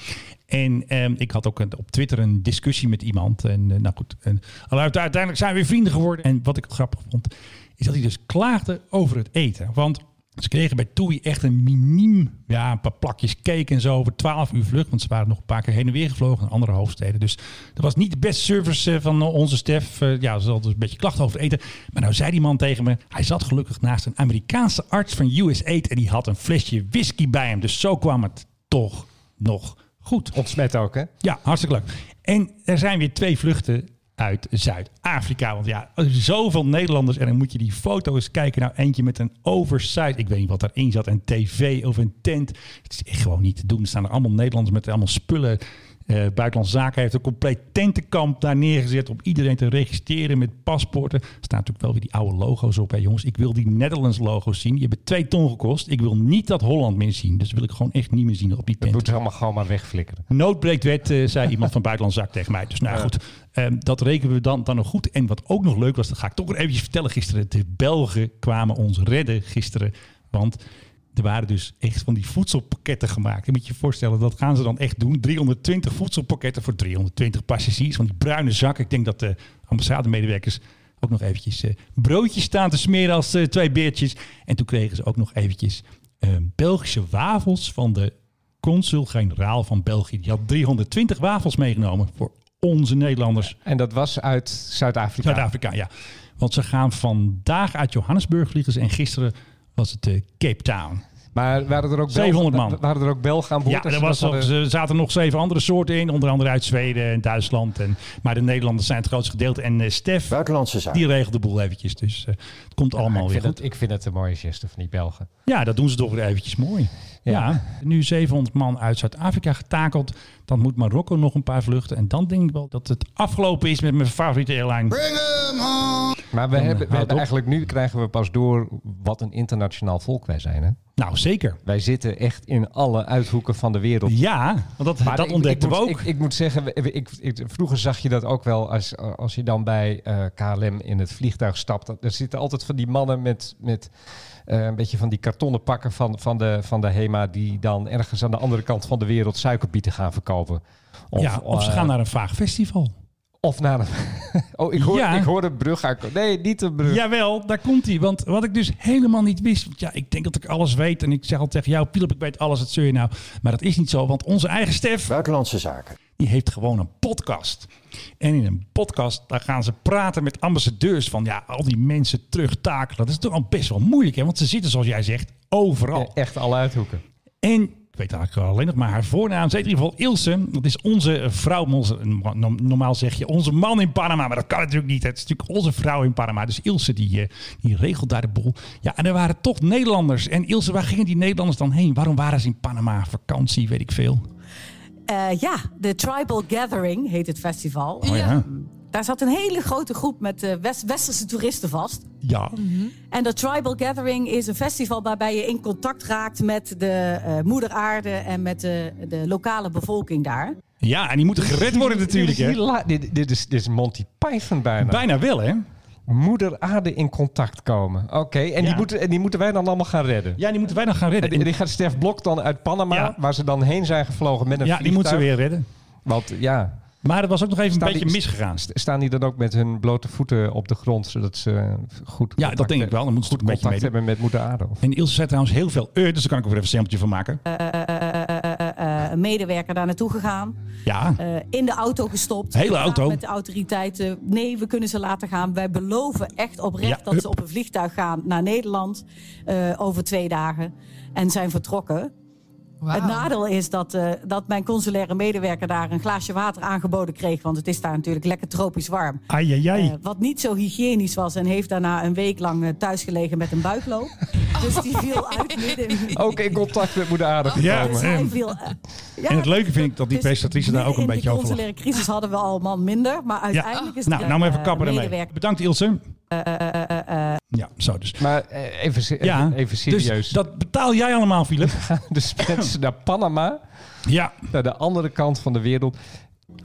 En ehm, ik had ook een- op Twitter een discussie met iemand. En eh, nou goed, en, alhoewel, uiteindelijk zijn we weer vrienden geworden. En wat ik grappig vond, is dat hij dus klaagde over het eten. Want Ze kregen bij TUI echt een miniem, ja, een paar plakjes cake en zo over 12 uur vlucht. Want ze waren nog een paar keer heen en weer gevlogen naar andere hoofdsteden. Dus dat was niet de beste service eh, van eh, onze Stef. Eh, Ja, ze hadden dus een beetje klachten over het eten. Maar nou zei die man tegen me, hij zat gelukkig naast een Amerikaanse arts van US8 en die had een flesje whisky bij hem. Dus zo kwam het toch nog goed.
Ontsmet ook, hè?
Ja, hartstikke leuk. En er zijn weer twee vluchten uit Zuid-Afrika. Want ja, zoveel Nederlanders. En dan moet je die foto eens kijken. Nou, eentje met een oversized. Ik weet niet wat daarin zat. Een tv of een tent. Het is echt gewoon niet te doen. Er staan er allemaal Nederlanders met allemaal spullen. Eh Buitenlandse Zaken heeft een compleet tentenkamp daar neergezet om iedereen te registreren met paspoorten. Er staan natuurlijk wel weer die oude logo's op. Hè, jongens, ik wil die Netherlands logo's zien. Die hebben twee ton gekost. Ik wil niet dat Holland meer zien. Dus wil ik gewoon echt niet meer zien op die
Dat
tent.
moeten ze allemaal gewoon maar wegflikkeren.
Nood breekt wet, eh, zei iemand van Buitenlandse Zaak tegen mij. Dus nou goed, ehm, dat rekenen we dan, dan nog goed. En wat ook nog leuk was, dat ga ik toch nog eventjes vertellen gisteren. De Belgen kwamen ons redden gisteren. Want er waren dus echt van die voedselpakketten gemaakt. Je moet je voorstellen, dat gaan ze dan echt doen. 320 voedselpakketten voor 320 passagiers. Van die bruine zak. Ik denk dat de ambassademedewerkers ook nog eventjes eh, broodjes staan te smeren als eh, twee beertjes. En toen kregen ze ook nog eventjes eh, Belgische wafels van de consul-generaal van België. Die had 320 wafels meegenomen voor onze Nederlanders.
En dat was uit Zuid-Afrika.
Zuid-Afrika, ja. Want ze gaan vandaag uit Johannesburg vliegen ze en gisteren was het eh, Cape Town.
Maar waren er ook
700
Belgen-
man.
Waren er ook Belgen aan boord?
Ja,
als
er,
ze
was
dat
nog,
hadden-
er zaten nog zeven andere soorten in, onder andere uit Zweden en Duitsland. En, maar de Nederlanders zijn het grootste gedeelte. En eh, Stef,
Buitenlandse zaak.
die regelt de boel eventjes. Dus eh, het komt
Maar
allemaal
ik,
weer
vind
goed.
het, ik vind het een mooie geste van die Belgen.
Ja, dat doen ze toch weer eventjes mooi. Ja. nu 700 man uit Zuid-Afrika getakeld. Dan moet Marokko nog een paar vluchten. En dan denk ik wel dat het afgelopen is met mijn favoriete airline.
Maar we hebben, we
houd
hebben
op.
eigenlijk nu krijgen we pas door wat een internationaal volk wij zijn. Hè?
Nou, zeker.
Wij zitten echt in alle uithoeken van de wereld.
Ja, want dat,
Maar
dat
ik-
ontdekten
ik
we
moet-
ook.
Ik, ik moet zeggen, we- we- ik, ik- vroeger zag je dat ook wel als, als je dan bij eh, KLM in het vliegtuig stapt. dat- Er zitten altijd van die mannen met, met eh, een beetje van die kartonnen pakken van, van, de, van de HEMA... die dan ergens aan de andere kant van de wereld suikerbieten gaan verkopen. Of,
ja, of ze
eh,
gaan naar een vaag festival.
Of naar een... oh, ik hoor,
Ja.
ik hoor een brug aankomen. Nee, niet een brug.
Jawel, daar komt hij. Want wat ik dus helemaal niet wist. Want ja, ik denk dat ik alles weet. En ik zeg al tegen jou, Pielop, ik weet alles. Dat zeur je nou. Maar dat is niet zo. Want onze eigen Stef,
Buitenlandse zaken.
die heeft gewoon een podcast. En in een podcast, daar gaan ze praten met ambassadeurs van ja, al die mensen terugtakelen. Dat is toch al best wel moeilijk, hè? Want ze zitten, zoals jij zegt, overal.
Ja, echt alle uithoeken.
En ik weet eigenlijk alleen nog maar haar voornaam. Ze heet in ieder geval Ilse. Dat is onze eh, vrouw. Onze, no- normaal zeg je onze man in Panama. Maar dat kan natuurlijk niet. Het is natuurlijk onze vrouw in Panama. Dus Ilse die, eh, die regelt daar de boel. Ja, en er waren toch Nederlanders. En Ilse, waar gingen die Nederlanders dan heen? Waarom waren ze in Panama? Vakantie, weet ik veel.
Eh, ja, de Tribal Gathering heet het festival.
Oh ja.
Daar zat een hele grote groep met eh, West- westerse toeristen vast.
Ja.
En de Tribal Gathering is een festival waarbij je in contact raakt met de eh, moeder aarde en met de, de lokale bevolking daar.
Ja, en die moeten Nou. gered worden natuurlijk,
Dit is,
hè?
hila- dit, dit is, dit is Monty Python bijna.
Bijna wel, hè?
Moeder aarde in contact komen. Oké, en,
Ja.
die moeten en die moeten wij dan allemaal gaan redden.
Ja, die moeten wij dan gaan
En
redden.
die- die gaat Stef Blok dan uit Panama,
Ja.
waar ze dan heen zijn gevlogen met een
ja, die
vliegtuig.
moeten ze weer redden.
Want ja,
Maar dat was ook nog even
Staan
een beetje
die-
misgegaan.
st- staan die dan ook met hun blote voeten op de grond, zodat ze eh, goed
Ja, dat denk ik wel. Dan moeten ze
goed
natuurlijk een beetje meedoen.
contact hebben met moeder aarde. Of?
En Ilse zei trouwens heel veel eh, dus daar kan ik er weer even een sampletje van maken.
Eh, een medewerker daar naartoe gegaan.
Ja,
eh, in de auto gestopt.
Hele
Gepraat
auto?
Met de autoriteiten. Nee, we kunnen ze laten gaan. Wij beloven echt oprecht
Ja,
dat ze
hup.
op een vliegtuig gaan naar Nederland. eh, over twee dagen. En zijn vertrokken. Het nadeel is dat, eh, dat mijn consulaire medewerker daar een glaasje water aangeboden kreeg. Want het is daar natuurlijk lekker tropisch warm.
ai, ai, ai.
Eh, wat niet zo hygiënisch was. En heeft daarna een week lang eh, thuisgelegen met een buikloop. Dus die viel uit midden. in-
Ook in contact met moeder aarde
Ja.
gekomen.
dus
ehm,
hij viel, eh, ja,
en het leuke vind ik dat die
dus
presentatrice daar ook een
midden
beetje
in
over
de consulaire crisis hadden we al een man minder. Maar uiteindelijk is
nou,
de,
nou maar even
eh,
kappen ermee.
medewerker- Eh,
Bedankt Ilse. Ja, zo dus.
Maar eh, even, se-
Ja,
even, even serieus.
Dus dat betaal jij allemaal, Philip.
Dus mensen naar Panama,
ja,
naar de andere kant van de wereld.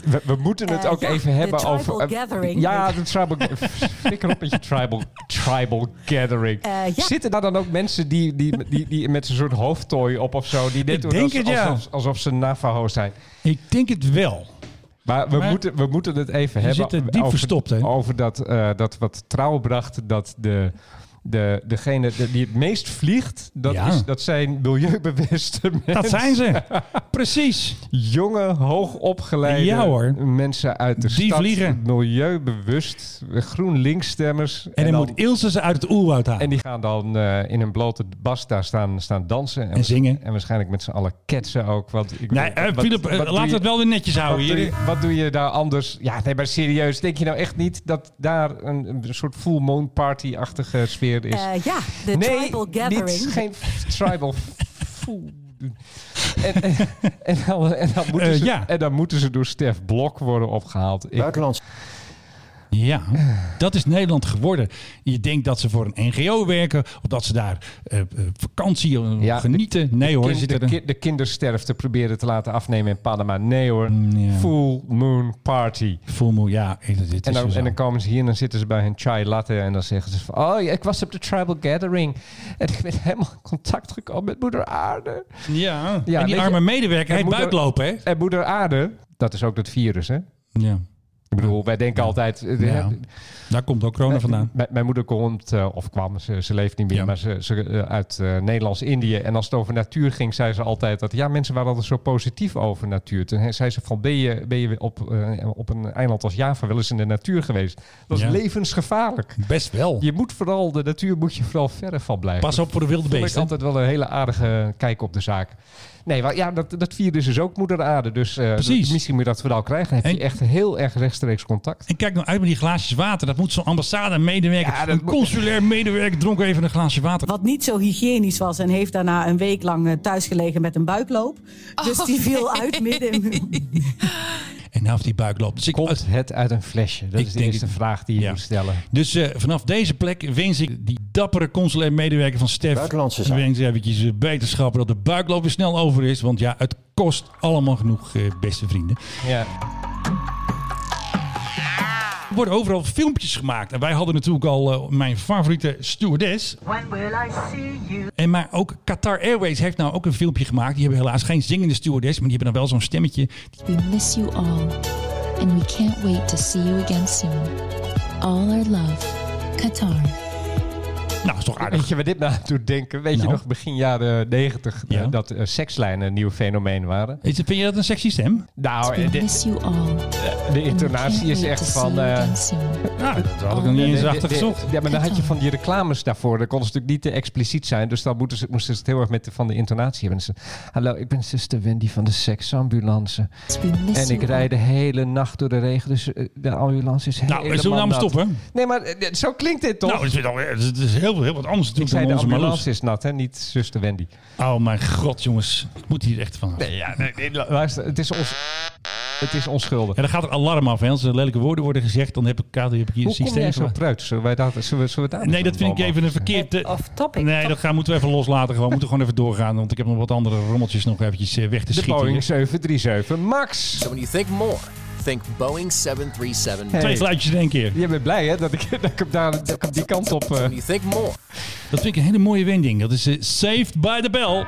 We, we moeten het
Eh,
ook
ja,
even
de
hebben
tribal
over... eh,
gathering.
Ja, de tribal... Flikker op met je tribal, tribal gathering.
Eh, ja.
Zitten daar dan ook mensen die, die, die, die met zo'n soort hoofdtooi op of zo? Die
Ik
net doen
denk
als-
het,
alsof,
ja.
alsof, ze Navajo zijn.
ik denk het wel.
Maar we,
Maar-
moeten, we moeten het even
Je
hebben
zit er diep
over,
verstopt, hè?
over dat, eh, dat wat trouw bracht dat de... de, degene de- die het meest vliegt, dat,
Ja.
is, dat zijn milieubewuste mensen.
Dat zijn ze. Precies.
jonge, hoogopgeleide
Ja, hoor.
mensen uit de
Die
stad.
vliegen.
Milieubewust, GroenLinks-stemmers.
En dan
dan-
moet Ilse ze uit het oerwoud
en
halen.
die gaan dan eh, in een blote bas daar staan, staan dansen.
En zingen.
En waarschijnlijk met z'n allen ketsen ook. Want ik
Nee,
bedoel,
eh,
wat-
Philip,
wat
eh,
doe
laten
je-
we het wel weer netjes
Wat
houden
doe, je,
hier.
wat doe je daar anders? Ja, nee, maar serieus. Denk je nou echt niet dat daar een, een soort full moon party-achtige sfeer is?
Eh, ja, de
nee,
tribal
niet-
gathering.
geen tribal food. En, en, en, dan, en, dan moeten
Eh,
ze,
ja.
en dan moeten ze door Stef Blok worden opgehaald. Ik,
Buitenlands.
Ja, dat is Nederland geworden. Je denkt dat ze voor een NGO werken, of dat ze daar eh, eh, vakantie eh,
Ja, de-
genieten. Nee hoor,
kind-
zit
de,
er een...
ki- de kindersterfte proberen te laten afnemen in Panama. Nee hoor,
Mm, ja.
full moon party.
Full moon, ja, eh, dit
En
is
dan,
zo.
en dan komen ze hier en dan zitten ze bij hun chai latte en dan zeggen ze van... Oh, ja, ik was op de tribal gathering en ik ben helemaal in contact gekomen met moeder aarde.
Ja.
Ja,
en die
weet
arme
je-
medewerker
Er
heeft
moet er-
buiklopen, hè?
En moeder aarde, dat is ook dat virus, hè?
Ja.
Ik bedoel, wij denken altijd... eh,
Ja. Daar komt ook corona vandaan.
Mijn, mijn moeder komt, eh, of kwam, ze, ze leeft niet meer,
Ja.
maar ze, ze, eh, uit eh, Nederlands-Indië. En als het over natuur ging, zei ze altijd dat... Ja, mensen waren altijd zo positief over natuur. Toen he- zei ze van, ben je, ben je op, eh, op een eiland als Java wel eens in de natuur geweest? Dat is
Ja.
levensgevaarlijk.
Best wel.
Je moet vooral, de natuur moet je vooral verre van blijven.
Pas op voor de wilde
Dat is
beesten.
altijd wel een hele aardige kijk op de zaak. Nee, maar ja, dat, dat virus is ook moeder aarde. Dus eh,
Precies.
dat- misschien moet je dat verhaal krijgen. Dan heb je
En-
echt heel erg rechtstreeks contact.
En kijk nou uit met die glaasjes water. Dat moet zo'n ambassade medewerker,
Ja, dat
een
moet-
consulair medewerker dronk even een glaasje water.
Wat niet zo hygiënisch was en heeft daarna een week lang eh, thuisgelegen met een buikloop.
Oh,
Dus die viel uit midden. in-
En nou heeft die buik loopt. Dus, ik,
Komt het uit een flesje? Dat
Ik
is de
denk
eerste
het-
vraag die je
Ja.
moet stellen.
dus eh, vanaf deze plek wens ik die dappere consulair medewerker van Stef.
Buitenlandse zaak.
Wens eventjes eh, wetenschappen dat de buikloop weer snel over is. Want ja, het kost allemaal genoeg, eh, beste vrienden.
Ja.
Er worden overal filmpjes gemaakt. En wij hadden natuurlijk al eh, mijn favoriete stewardess.
When will I see you?
En maar ook Qatar Airways heeft nou ook een filmpje gemaakt. Die hebben helaas geen zingende stewardess, maar die hebben dan wel zo'n stemmetje.
We miss you all, and we can't wait to see you again soon. All our love, Qatar.
Nou, is toch aardig.
Weet je waar dit nou aan doet denken? Weet
Nou.
je nog begin jaren negentig
Ja.
dat eh, sekslijnen een nieuw fenomeen waren?
Is het- Vind je dat een sexy stem?
Nou,
We
eh, dit-
miss you
de
all. and we can't
intonatie is
wait to
echt
see
van...
you
eh,
again soon.
Nou, dat had ik nog niet eens
de-
achter
de-
gezocht.
Ja, maar dan had je van die reclames daarvoor. Dan konden ze natuurlijk niet te expliciet zijn. Dus dan moeten ze, moesten ze het heel erg met de, van de intonatie hebben. Ze, Hallo, ik ben zuster Wendy van de seksambulance.
We miss
En ik
you all.
rijd de hele nacht door de regen. Dus eh, de ambulance is helemaal
Nou, zullen we nou maar
nat.
stoppen?
Nee, maar eh, zo klinkt dit toch?
Nou, het is, alweer- het is heel, heel wat anders
ik
natuurlijk
zei
dan
de
onze Marloes.
ambulance is nat, hè? niet zuster Wendy.
Oh mijn god, jongens. Ik moet hier echt van.
Nee, ja, nee, nee, lu- luister, het is, ons, het is onschuldig.
En dan gaat er alarm af. Hè. Als er lelijke woorden worden gezegd, dan heb ik, Kato, heb ik hier een
Hoe kom jij
systeem.
zo pruit? Zullen, wij dat, zullen, we, zullen we daar
Nee,
niet
dat
van
vind ik
allemaal?
even een verkeerd... eh,
Off topic.
Nee, dat gaan, moeten we even loslaten. Gewoon. We moeten gewoon even doorgaan. Want ik heb nog wat andere rommeltjes nog eventjes eh, weg te
De
schieten.
Boeing
hier.
737 MAX.
So when you think more, think Boeing 737.
Hey.
Twee fluitjes in één keer.
Je bent blij hè, dat ik, dat ik, hem daar, dat ik hem die kant op... eh,
When you think more,
Dat vind ik een hele mooie wending. Dat is eh, Saved by the Bell.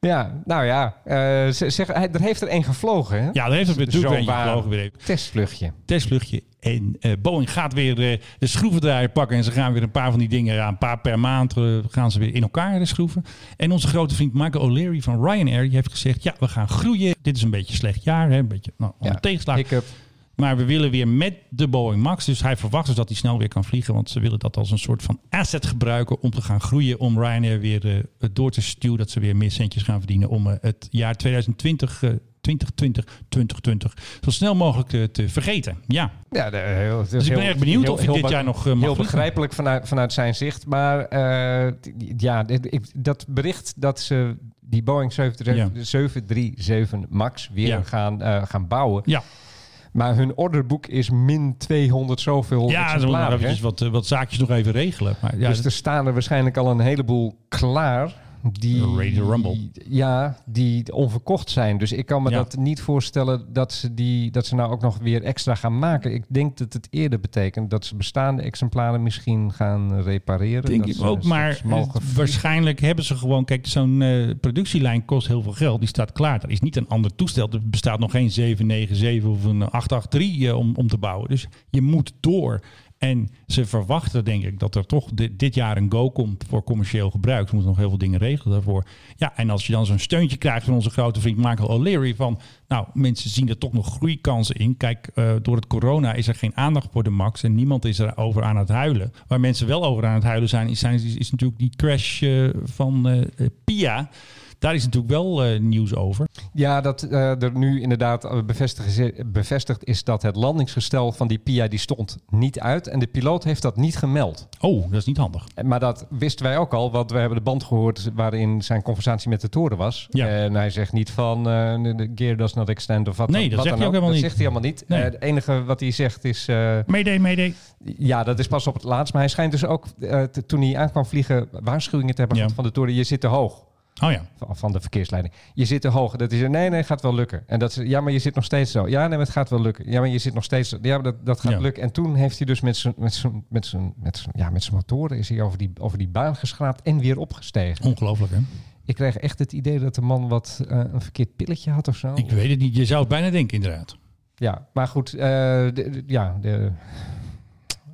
Ja, nou ja. eh, ze- zeg, hij, er heeft er één gevlogen, hè?
Ja, daar heeft het weer Duke
Zo
eentje
waar.
gevlogen weer even.
Testvluchtje.
testvluchtje. En eh, Boeing gaat weer eh, de schroevendraaier pakken. En ze gaan weer een paar van die dingen, ja, een paar per maand, eh, gaan ze weer in elkaar eh, schroeven. En onze grote vriend Michael O'Leary van Ryanair, die heeft gezegd, ja, we gaan groeien. Dit is een beetje een slecht jaar, hè? een beetje nou, een
Ja,
tegenslag.
Ik eh, heb
Maar we willen weer met de Boeing Max. Dus hij verwacht dus dat hij snel weer kan vliegen. Want ze willen dat als een soort van asset gebruiken om te gaan groeien. Om Ryanair weer eh, het door te stuwen. Dat ze weer meer centjes gaan verdienen. Om eh, het jaar 2020, eh, 2020, 2020 zo snel mogelijk eh, te vergeten. Ja,
ja, de, heel, het is
Dus ik ben
heel-
erg benieuwd
heel-
of hij
heel
dit
be-
jaar nog, eh, mag
Heel
vliegen.
begrijpelijk vanuit, vanuit zijn zicht. Maar eh, t- ja, dit- ik- dat bericht dat ze die Boeing 737 737 MAX weer
Ja.
gaan, eh, gaan bouwen.
ja.
Maar hun orderboek is min 200
ja
zoveel
ze moeten nog
exemplaren. hè?
eventjes wat, eh, wat zaakjes nog even regelen. Maar ja,
dus er staan er waarschijnlijk al een heleboel klaar. Die,
Ready to rumble.
Ja, die onverkocht zijn. Dus ik kan me
Ja.
dat niet voorstellen dat ze, die, dat ze nou ook nog weer extra gaan maken. Ik denk dat het eerder betekent dat ze bestaande exemplaren misschien gaan repareren.
denk
dat
ik
ze
ook.
straks
Maar
mogen
eh, waarschijnlijk hebben ze gewoon... Kijk, zo'n eh, productielijn kost heel veel geld. Die staat klaar. Dat is niet een ander toestel. Er bestaat nog geen 797 of een 883 eh, om, om te bouwen. Dus je moet door. En ze verwachten, denk ik, dat er toch di- dit jaar een go komt voor commercieel gebruik. Ze moeten nog heel veel dingen regelen daarvoor. Ja, en als je dan zo'n steuntje krijgt van onze grote vriend Michael O'Leary. van. Nou, mensen zien er toch nog groeikansen in. Kijk, eh, door het corona is er geen aandacht voor de max. en niemand is er over aan het huilen. Waar mensen wel over aan het huilen zijn, is, zijn- is, is natuurlijk die crash eh, van eh, eh, Pia. Daar is natuurlijk wel eh, nieuws over.
Ja, dat eh, er nu inderdaad eh, bevestigd is, bevestigd is dat het landingsgestel van die Pia die stond niet uit. En de piloot heeft dat niet gemeld.
Oh, dat is niet handig.
Eh, Maar dat wisten wij ook al, want we hebben de band gehoord waarin zijn conversatie met de toren was.
Ja.
En hij zegt niet van eh, de gear does not extend of wat
Nee,
dan-
dat
wat
zegt
dan
hij ook helemaal
Dat
niet.
zegt hij helemaal niet.
Nee.
Eh, het enige wat hij zegt is... eh,
Meedee, meedee.
ja, dat is pas op het laatst. Maar hij schijnt dus ook, eh, te- toen hij aan kwam vliegen, waarschuwingen te hebben
Ja.
gehad van de toren. Je zit te hoog
Oh ja.
van van de verkeersleiding. Je zit te hoog. Dat is er, nee, nee, gaat wel lukken. En dat is, ja, maar je zit nog steeds zo. Ja, nee, maar het gaat wel lukken. Ja, maar je zit nog steeds zo. Ja, maar dat, dat gaat
Ja.
lukken. En toen heeft hij dus met zijn met zijn- met zijn- met zijn- ja, met zijn motoren is hij over die, over die baan geschraapt en weer opgestegen.
Ongelooflijk, hè?
Ik kreeg echt het idee dat de man wat eh, een verkeerd pilletje had of zo.
Ik weet het niet. Je zou het bijna denken, inderdaad.
Ja, maar goed, eh, de- de- ja, de,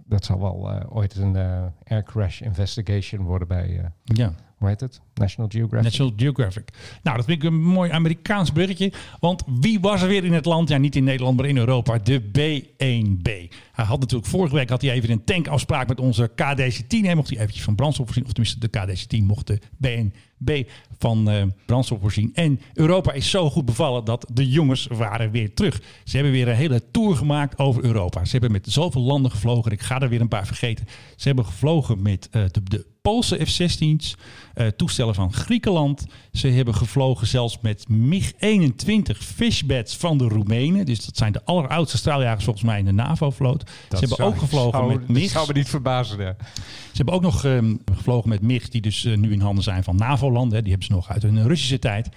dat zal wel eh, ooit een eh, air crash investigation worden bij, eh,
Ja.
hoe heet het? National Geographic.
National Geographic. Nou, dat vind ik een mooi Amerikaans bruggetje. Want wie was er weer in het land? Ja, niet in Nederland, maar in Europa. De B1B. Hij had natuurlijk vorige week had hij even een tankafspraak met onze KDC-10. Hij mocht hij eventjes van brandstof voorzien. Of tenminste, de KDC-10 mocht de B1B van eh, brandstof voorzien. En Europa is zo goed bevallen dat de jongens waren weer terug. Ze hebben weer een hele tour gemaakt over Europa. Ze hebben met zoveel landen gevlogen. Ik ga er weer een paar vergeten. Ze hebben gevlogen met eh, de, de Poolse F-16's, eh, toestellen van Griekenland. Ze hebben gevlogen zelfs met MiG-21 fishbeds van de Roemenen. Dus dat zijn de alleroudste straaljagers volgens mij in de NAVO-vloot. Ze hebben ook gevlogen met
Dat
MiG's.
zou me niet verbazen. hè.
Ze hebben ook nog ehm, gevlogen met MiG, die dus eh, nu in handen zijn van NAVO-landen. hè. Die hebben ze nog uit hun Russische tijd.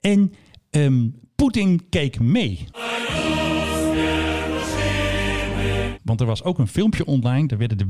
En ehm, Poetin keek mee. Want er was ook een filmpje online. Daar werden de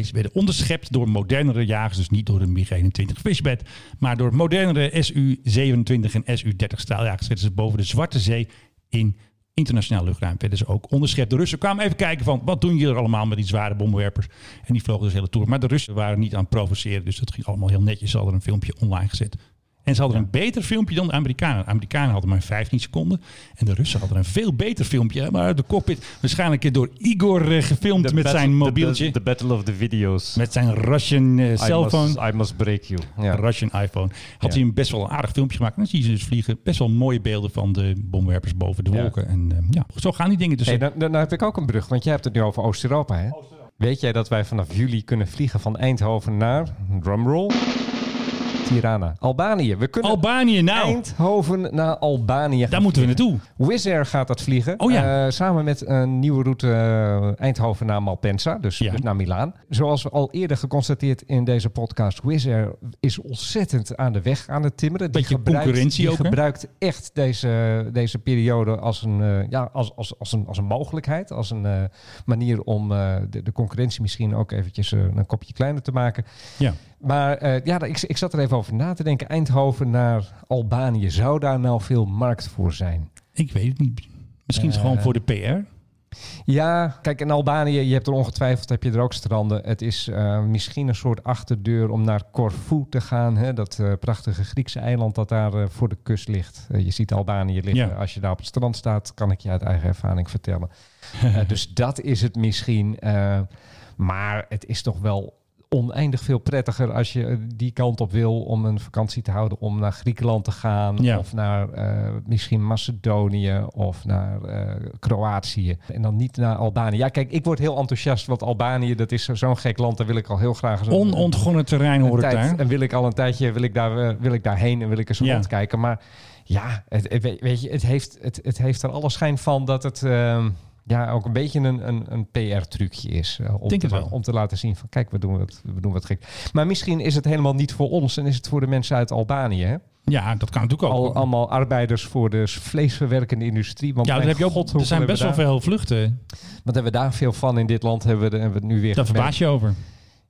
B1B's werden onderschept door modernere jagers. Dus niet door de MiG-21 Fishbed. Maar door modernere SU-27 en SU-30 straaljagers werden ze boven de Zwarte Zee in internationaal luchtruim. Werden ze ook onderschept. De Russen kwamen even kijken van wat doen jullie er allemaal met die zware bommenwerpers. En die vlogen dus de hele toer. Maar de Russen waren niet aan het provoceren. Dus dat ging allemaal heel netjes. Ze hadden een filmpje online gezet. En ze hadden een beter filmpje dan de Amerikanen. De Amerikanen hadden maar 15 seconden. En de Russen hadden een veel beter filmpje. Maar uit de cockpit waarschijnlijk door Igor eh, gefilmd met zijn mobieltje.
The battle of the videos.
met zijn Russian eh, cellphone.
I must break you.
Ja.
Russian iPhone. Had
Ja.
hij een best wel een aardig filmpje gemaakt. En dan zie je ze dus vliegen. Best wel mooie beelden van de bomwerpers boven de
Ja.
wolken. En eh, ja, zo gaan die dingen dus.
Hey, dan, dan heb ik ook een brug, want jij hebt het nu over Oost-Europa, hè? Weet jij dat wij vanaf juli kunnen vliegen van Eindhoven naar, drumroll, Tirana, Albanië. We kunnen
Albanië nou.
Eindhoven naar Albanië gaan
Daar moeten we
vliegen.
naartoe.
Wizz Air gaat dat vliegen.
Oh ja.
Eh, samen met een nieuwe route eh, Eindhoven naar Malpensa, dus,
Ja.
dus naar Milaan. Zoals we al eerder geconstateerd in deze podcast, Wizz Air is ontzettend aan de weg aan het timmeren. Die
Beetje
gebruikt-
concurrentie
die
ook, hè?
gebruikt echt deze, deze periode als een, eh, ja, als, als, als, een, als een mogelijkheid. Als een eh, manier om eh, de, de concurrentie misschien ook eventjes eh, een kopje kleiner te maken.
Ja.
Maar eh, ja, ik, ik zat er even over na te denken. Eindhoven naar Albanië, zou daar nou veel markt voor zijn?
Ik weet het niet. Misschien is het
Eh,
gewoon voor de PR.
Ja, kijk, in Albanië, je hebt er ongetwijfeld heb je er ook stranden. Het is eh, misschien een soort achterdeur om naar Corfu te gaan. Hè? Dat eh, prachtige Griekse eiland dat daar eh, voor de kust ligt. Eh, je ziet Albanië liggen.
Ja.
Als je daar op het strand staat, kan ik je uit eigen ervaring vertellen. Eh, dus dat is het misschien. eh, maar het is toch wel oneindig veel prettiger als je eh, die kant op wil om een vakantie te houden, om naar Griekenland te gaan
Ja.
of naar eh, misschien Macedonië of naar eh, Kroatië en dan niet naar Albanië. Ja, kijk, ik word heel enthousiast, want Albanië dat is zo- zo'n gek land, daar wil ik al heel graag eens een-
Onontgonnen terrein
een
hoor ik
tijd-
daar.
en wil ik al een tijdje wil ik daar, eh, wil ik daarheen en wil ik eens
Ja.
rondkijken, maar ja, het, het- weet weet je, het heeft, het, het heeft er alle schijn van dat het ehm, ja, ook een beetje een, een, een PR-trucje is. eh, om,
Denk
te,
het
la-
wel.
om te laten zien van kijk, we doen wat, we doen wat gek. Maar misschien is het helemaal niet voor ons en is het voor de mensen uit Albanië. Hè?
Ja, dat kan natuurlijk ook.
Al, allemaal arbeiders voor de s- vleesverwerkende industrie. Want
ja, daar
mijn
heb je
god,
ook, er
hoeveel
zijn
hebben
best wel
we daar-
veel vluchten.
Wat hebben we daar veel van in dit land? Hebben we, de- hebben we het nu weer
Daar
gemerkt.
verbaas je over.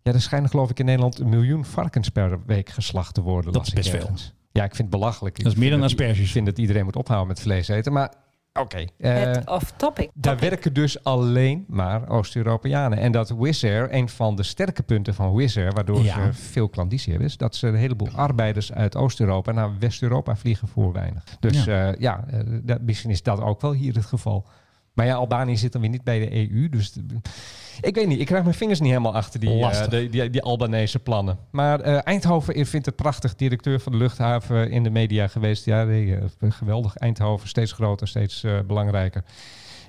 Ja, er schijnen geloof ik in Nederland een miljoen varkens per week geslacht te worden.
Dat
las
is
ik
best
ergens. Ja, ik vind het belachelijk.
Dat is meer dan asperges.
Ik vind dat iedereen moet ophouden met vlees eten. Maar Oké.
Het
eh,
off topic.
daar werken dus alleen maar Oost-Europeanen. En dat Wizz Air, een van de sterke punten van Wizz Air, waardoor
Ja.
ze veel klandizie hebben, is dat ze een heleboel arbeiders uit Oost-Europa naar West-Europa vliegen voor weinig. Dus ja, ja eh, dat, misschien is dat ook wel hier het geval. Maar ja, Albanië zit dan weer niet bij de EU. Dus d- ik weet niet, ik krijg mijn vingers niet helemaal achter die, eh,
Lastig.
die, die, die Albanese plannen. Maar eh, Eindhoven vindt het prachtig. Directeur van de luchthaven in de media geweest. Ja, nee, eh, geweldig. Eindhoven steeds groter, steeds eh, belangrijker.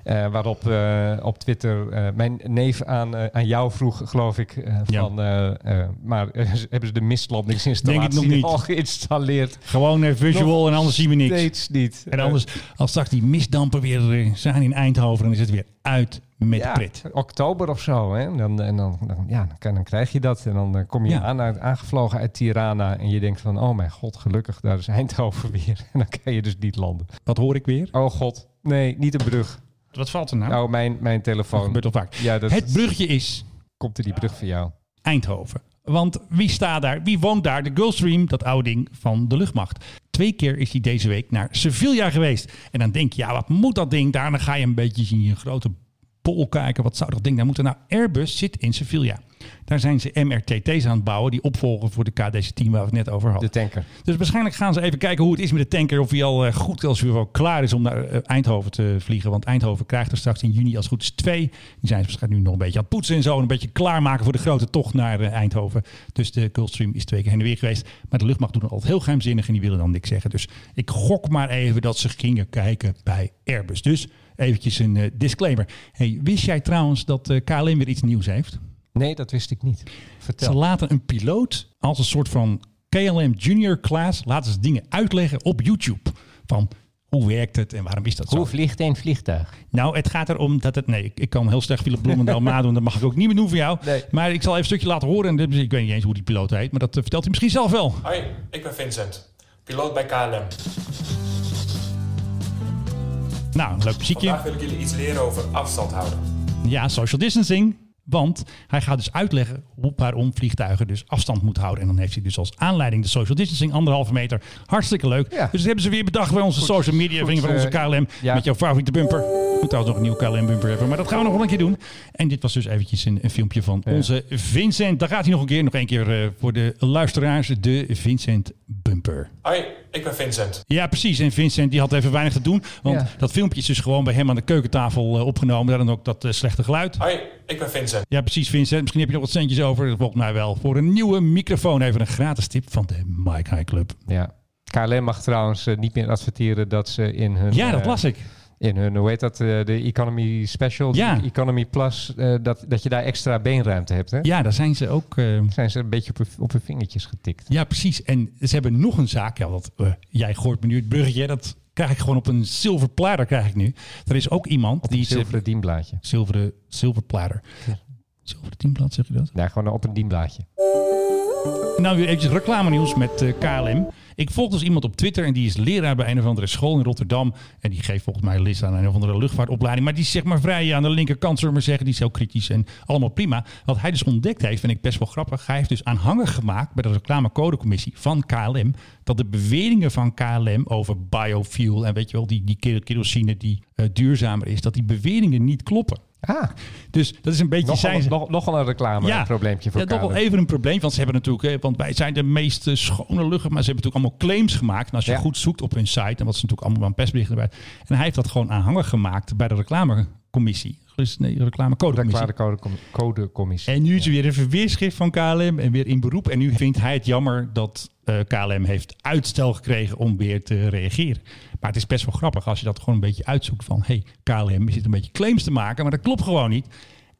Eh, waarop eh, op Twitter eh, mijn neef aan, eh, aan jou vroeg, geloof ik, eh,
Ja.
van, eh, eh, maar eh, hebben ze de
Denk het nog
mistlandingsinstallatie
niet.
al geïnstalleerd?
Gewoon een visual
Nog
en anders zien we niks.
steeds eh, niet.
En anders, als straks die misdampen weer eh, zijn in Eindhoven, dan is het weer uit met
Eh, ja,
de pret.
oktober of zo. Hè? En Dan, en dan, dan, ja, dan, kan- dan krijg je dat. En dan eh, kom je
Ja.
aan, uit- aangevlogen uit Tirana. En je denkt van, oh mijn god, gelukkig, daar is Eindhoven weer. En dan kan je dus niet landen.
Wat hoor ik weer?
Oh god, nee, niet een brug.
Wat valt er nou?
Oh, mijn, mijn telefoon.
Dat gebeurt al vaak.
Ja, dat,
het bruggetje is
komt er die brug van jou.
Eindhoven. Want wie staat daar? Wie woont daar? De Gulfstream, dat oude ding van de luchtmacht. Twee keer is hij deze week naar Sevilla geweest. En dan denk je, ja, wat moet dat ding daar? Dan ga je een beetje zien, je grote bol kijken. Wat zou dat ding daar moeten? Nou, Airbus zit in Sevilla. Daar zijn ze MRTT's aan het bouwen, die opvolgen voor de KDC-10 waar we het net over hadden.
De tanker.
Dus waarschijnlijk gaan ze even kijken hoe het is met de tanker. Of hij al eh, goed als hij wel klaar is om naar eh, Eindhoven te vliegen. Want Eindhoven krijgt er straks in juni als het goed is twee. Die zijn ze waarschijnlijk nu nog een beetje aan het poetsen en zo. En een beetje klaarmaken voor de grote tocht naar eh, Eindhoven. Dus de Gulfstream is twee keer heen en weer geweest. Maar de luchtmacht doet het altijd heel geheimzinnig en die willen dan niks zeggen. Dus ik gok maar even dat ze gingen kijken bij Airbus. Dus eventjes een eh, disclaimer. Hey, wist jij trouwens dat eh, KLM weer iets nieuws heeft?
Nee, dat wist ik niet. Vertel.
Ze laten een piloot als een soort van KLM junior class laten ze dingen uitleggen op YouTube. Van hoe werkt het en waarom is dat zo?
Hoe vliegt een vliegtuig?
Nou, het gaat erom dat het... Nee, ik, ik kan heel slecht Philip Bloemendaal nadoen. Dat mag ik ook niet meer doen voor jou.
Nee.
Maar ik zal even een stukje laten horen. En dit- ik weet niet eens hoe die piloot heet. Maar dat eh, vertelt hij misschien zelf wel.
Hoi, ik ben Vincent, piloot bij KLM.
Nou, een leuk muziekje.
Vandaag wil ik jullie iets leren over afstand houden.
Ja, social distancing. Want hij gaat dus uitleggen hoe, waarom vliegtuigen dus afstand moeten houden. En dan heeft hij dus als aanleiding de social distancing, anderhalve meter. Hartstikke leuk.
Ja.
Dus dat hebben ze weer bedacht bij onze social media,
goed,
vrienden van onze
eh,
KLM.
ja.
Met jouw favoriete bumper. Ik moet trouwens nog een nieuwe KLM bumper hebben, maar dat gaan we nog wel een keer doen. En dit was dus eventjes een, een filmpje van onze Vincent. Daar gaat hij nog een keer, nog een keer eh, voor de luisteraars, de Vincent bumper.
Hoi, ik ben Vincent.
Ja, precies. En Vincent die had even weinig te doen. Want
Ja.
dat filmpje is dus gewoon bij hem aan de keukentafel eh, opgenomen. Daarom ook dat eh, slechte geluid.
Hoi, ik ben Vincent.
Ja, precies Vincent. Misschien heb je nog wat centjes over. Dat volgens mij wel. Voor een nieuwe microfoon even een gratis tip van de Mike High Club.
Ja. KLM mag trouwens eh, niet meer adverteren dat ze in hun...
Ja, dat
eh,
las ik.
In hun, hoe heet dat, eh, de Economy Special, de
Ja.
Economy Plus, eh, dat, dat je daar extra beenruimte hebt. Hè?
Ja, daar zijn ze ook... eh,
Zijn ze een beetje op hun, op hun vingertjes getikt.
ja, precies. En ze hebben nog een zaak. Ja, dat, eh, jij gooit me nu het bruggetje. Dat krijg ik gewoon op een zilver platter krijg ik nu. Er is ook iemand
Op
die...
een
ze-
zilveren dienblaadje.
Zilveren, zilveren platter. Zilveren tienblad, zeg je dat?
Ja, gewoon op een dienblaadje.
Nou, weer eventjes reclame nieuws met eh, KLM. Ik volg dus iemand op Twitter en die is leraar bij een of andere school in Rotterdam. En die geeft volgens mij les aan een of andere luchtvaartopleiding. Maar die is zeg maar vrij eh, aan de linkerkant, zullen we maar zeggen. Die is heel kritisch en allemaal prima. Wat hij dus ontdekt heeft, vind ik best wel grappig. Hij heeft dus aanhangig gemaakt bij de reclamecodecommissie van KLM. Dat de beweringen van KLM over biofuel en weet je wel, die, die kero- kerosine die eh, duurzamer is. Dat die beweringen niet kloppen.
Ah,
Dus dat is een beetje...
nogal,
zijn ze-
nog, nogal een reclame een Ah, probleempje voor
ja, toch
KLM.
wel even een probleem. Want ze hebben natuurlijk, hè, want wij zijn de meest eh, schone lucht, maar ze hebben natuurlijk allemaal claims gemaakt. En als je
Ja.
goed zoekt op hun site, en wat ze natuurlijk allemaal aan persberichten erbij. En hij heeft dat gewoon aanhangig gemaakt bij de reclamecommissie. Dus nee, reclamecodecommissie.
Reclame code, codecommissie.
En nu is er weer een verweerschrift van KLM en weer in beroep. En nu vindt hij het jammer dat eh, KLM heeft uitstel gekregen om weer te reageren. Maar het is best wel grappig als je dat gewoon een beetje uitzoekt van... hey, KLM zit een beetje claims te maken, maar dat klopt gewoon niet.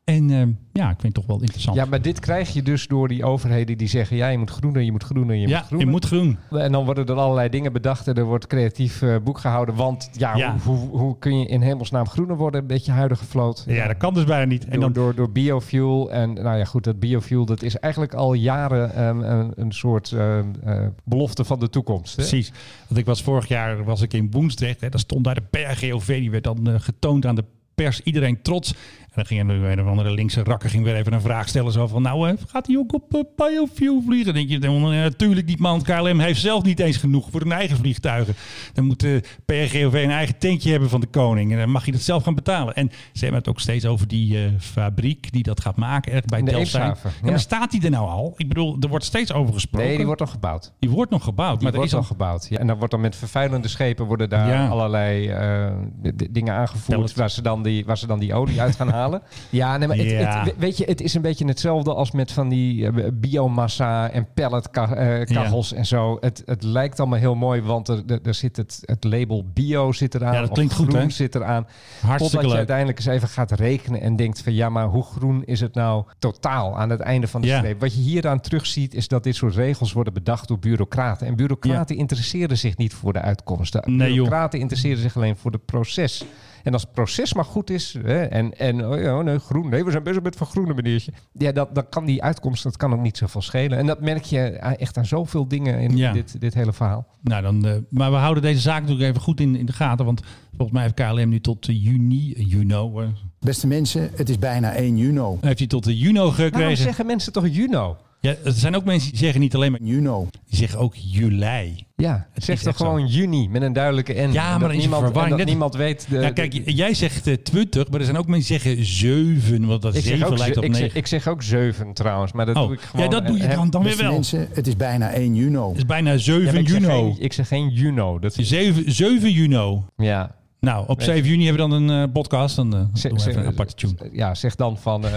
En eh, ja, ik vind het toch wel interessant.
Ja, maar dit krijg je dus door die overheden die zeggen... ja, je moet groener, je moet groener, je
ja,
moet groener.
je moet groen.
En dan worden er allerlei dingen bedacht en er wordt creatief eh, boek gehouden. Want ja,
Ja.
Hoe, hoe, hoe kun je in hemelsnaam groener worden? Een beetje huidige vloot.
Ja, dat kan dus bijna niet. En
door,
dan,
door, door biofuel. En nou ja, goed, dat biofuel dat is eigenlijk al jaren ehm, een, een soort ehm, eh, belofte van de toekomst. hè?
precies. Want ik was vorig jaar was ik in Woensdrecht. Hè, daar stond daar de PRGOV. Die werd dan eh, getoond aan de pers. Iedereen trots. En dan ging er weer een of andere linkse rakker ging weer even een vraag stellen. Zo van, nou, eh, gaat hij ook op eh, Bioview vliegen? Dan denk je, eh, natuurlijk niet, man. KLM heeft zelf niet eens genoeg voor hun eigen vliegtuigen. Dan moet de PRGOV een eigen tentje hebben van de koning. En dan mag je dat zelf gaan betalen. En ze hebben het ook steeds over die eh, fabriek die dat gaat maken. Erg bij
In de
Delfzijl.
Eemshaven,
Ja,
ja.
maar staat die er nou al? Ik bedoel, er wordt steeds over gesproken.
Nee, die wordt nog gebouwd.
Die wordt nog gebouwd,
Die
maar er
wordt
is al
al gebouwd. Ja. En dan wordt dan met vervuilende schepen worden daar
Ja.
allerlei eh, d- d- dingen aangevoerd
Pellet.
waar ze, dan die, waar ze dan die olie uit gaan halen. Ja, nee, maar het-
Ja.
het- weet je, het is een beetje hetzelfde als met van die eh, biomassa en pelletkachels en zo. Het, het lijkt allemaal heel mooi, want er, er- er zit het, het label bio zit eraan.
Ja, dat
of
klinkt goed,
groen
hè?
zit eraan.
Hartstikke
Totdat je
leuk.
uiteindelijk eens even gaat rekenen en denkt van ja, maar hoe groen is het nou totaal aan het einde van de
Ja.
streep? Wat je hieraan terugziet is dat dit soort regels worden bedacht door bureaucraten. En bureaucraten interesseren zich niet voor de uitkomsten.
Nee, joh.
bureaucraten interesseren zich alleen voor het proces. En als het proces maar goed is, hè, en, en oh ja, nee, groen, nee, we zijn bezig met vergroenen, meneertje. Ja, dat, dat kan die uitkomst, dat kan ook niet zoveel schelen. En dat merk je a- echt aan zoveel dingen in
Ja.
dit, dit hele verhaal.
Nou, dan, eh, maar we houden deze zaak natuurlijk even goed in, in de gaten. Want volgens mij heeft KLM nu tot eh, juni, eh, Juno, eh,
Beste mensen, het is bijna 1 Juno.
heeft hij tot de Juno
Waarom
gekregen.
zeggen mensen toch Juno?
Ja, er zijn ook mensen die zeggen niet alleen maar,
Juno.
die zeggen ook juli.
Ja,
Het
zeg
is
toch
echt zo.
gewoon juni met een duidelijke N.
Ja, maar
Hm, En dat
dan is er
niemand, en
verwarring.
dat
Net-
niemand weet. De,
ja, kijk, j- jij zegt eh, 20, maar er zijn ook mensen die zeggen 7, want dat
ik, zeg
7
ook,
lijkt
ze-
op
ik,
9.
zeg, ik zeg ook zeven trouwens, maar dat
oh,
doe ik gewoon. eh,
ja, dat doe je
hè,
dan, dan weer
Beste
wel. Het
mensen, het is bijna 1 Juno.
is bijna 7
ja, maar ik, zeg
Juno.
geen, ik zeg geen Juno. Dat is,
7, 7 Juno.
ja.
Nou, op
Weet je.
7 juni hebben we dan een eh, podcast. Dan eh,
Zeg-
doen we
zeg-
even een aparte tune.
ja, zeg dan van, eh,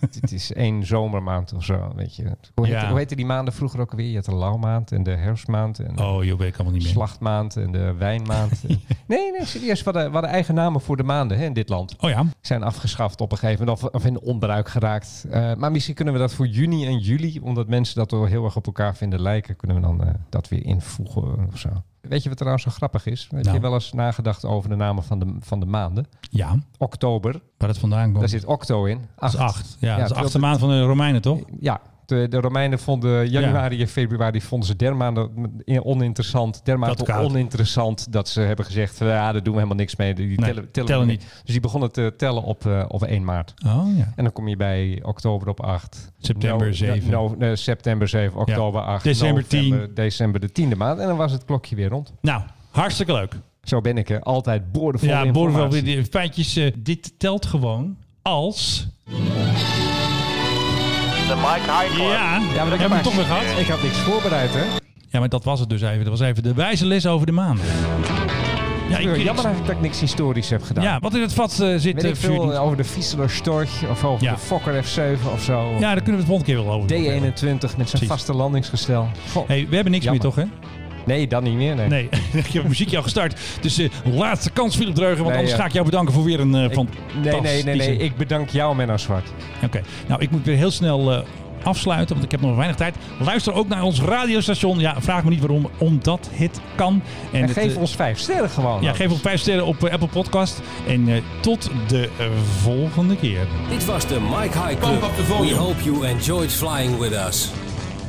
het- het is één zomermaand of zo, weet je. Hoe,
Ja.
heet, hoe heette die maanden vroeger ook weer? Je had de lauwmaand en de herfstmaand en de
Oh joh, weet ik allemaal niet meer.
slachtmaand en de wijnmaand. nee, nee, serieus. We hadden, we hadden eigen namen voor de maanden hè, in dit land.
Oh ja,
zijn afgeschaft op een gegeven moment of, of in onbruik geraakt. Eh, maar misschien kunnen we dat voor juni en juli, omdat mensen dat wel heel erg op elkaar vinden lijken, kunnen we dan eh, dat weer invoegen of zo. Weet je wat trouwens zo grappig is? Heb
Nou.
je wel eens nagedacht over de namen van de, van de maanden?
ja,
Oktober,
waar het vandaan komt.
daar zit octo in.
Dat
Acht.
is 8. Ja,
Ja,
dat is de
terwijl
achtste
de-
maand van de Romeinen, toch?
Ja, de, de Romeinen vonden januari en februari vonden ze dermate oninteressant.
Dat
Dermate
koud.
oninteressant dat ze hebben gezegd, ja, daar doen we helemaal niks mee. Die
Nee,
tellen, tellen,
tellen
we niet. Dus die begonnen te tellen op, eh, op 1 maart.
Oh ja.
En dan kom je bij oktober op 8.
September
No-
7.
no- eh, september 7, oktober 8.
December 10.
november, December de 10e maand. En dan was het klokje weer rond.
Nou, hartstikke leuk.
Zo ben ik er. Altijd boordevol
ja,
informatie.
Borrel, die feitjes. eh, dit telt gewoon als.
The Mike High Club.
Ja,
Ja, maar dat
hebben we
maar-
het toch weer gehad.
Ik had niks voorbereid, hè?
Ja, maar dat was het dus even. Dat was even de wijze les over de maanden. Ja, ik,
Jammer eigenlijk dat ik niks historisch heb gedaan.
ja wat in het vat eh, zit.
Weet
eh,
ik veel
Fury.
over de Vieseler Storch of over
Ja.
de Fokker F7 of zo.
ja, daar kunnen we het volgende keer wel over doen.
D21 met zijn
Precies.
vaste landingsgestel. Goh.
Hey, we hebben niks
Jammer.
meer, toch? Hè?
Nee, dan niet meer. Nee.
Nee, je hebt muziekje al gestart. Dus eh, laatste kans, Philip Dreugen. Want
Nee,
anders
ja.
ga ik jou bedanken voor weer een eh
Ik-
fantastische...
nee, nee, nee, nee. Ik bedank jou, Menno Zwart.
Oké, nou ik moet weer heel snel eh, afsluiten, want ik heb nog weinig tijd. Luister ook naar ons radiostation. Ja, vraag me niet waarom, omdat het kan.
En,
het,
geef
eh,
ons vijf sterren gewoon.
Ja, geef ons vijf sterren op eh, Apple Podcast. En eh, tot de eh, volgende keer.
Dit was de Mike High
Pump
Club.
up the
We
volume.
hope you enjoyed flying with us.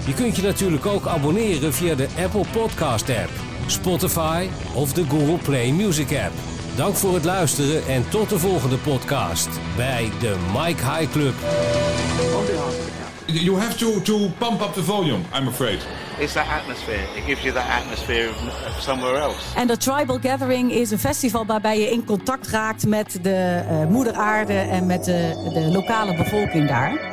Je kunt je natuurlijk ook abonneren via de Apple Podcast app, Spotify of de Google Play Music app. Dank voor het luisteren en tot de volgende podcast bij de Mike High Club.
You have to, to pump up the volume, I'm afraid.
It's that atmosphere. It gives you that atmosphere of, of somewhere else.
En de Tribal Gathering is een festival waarbij je in contact raakt met de eh, moeder aarde en met de, de lokale bevolking daar.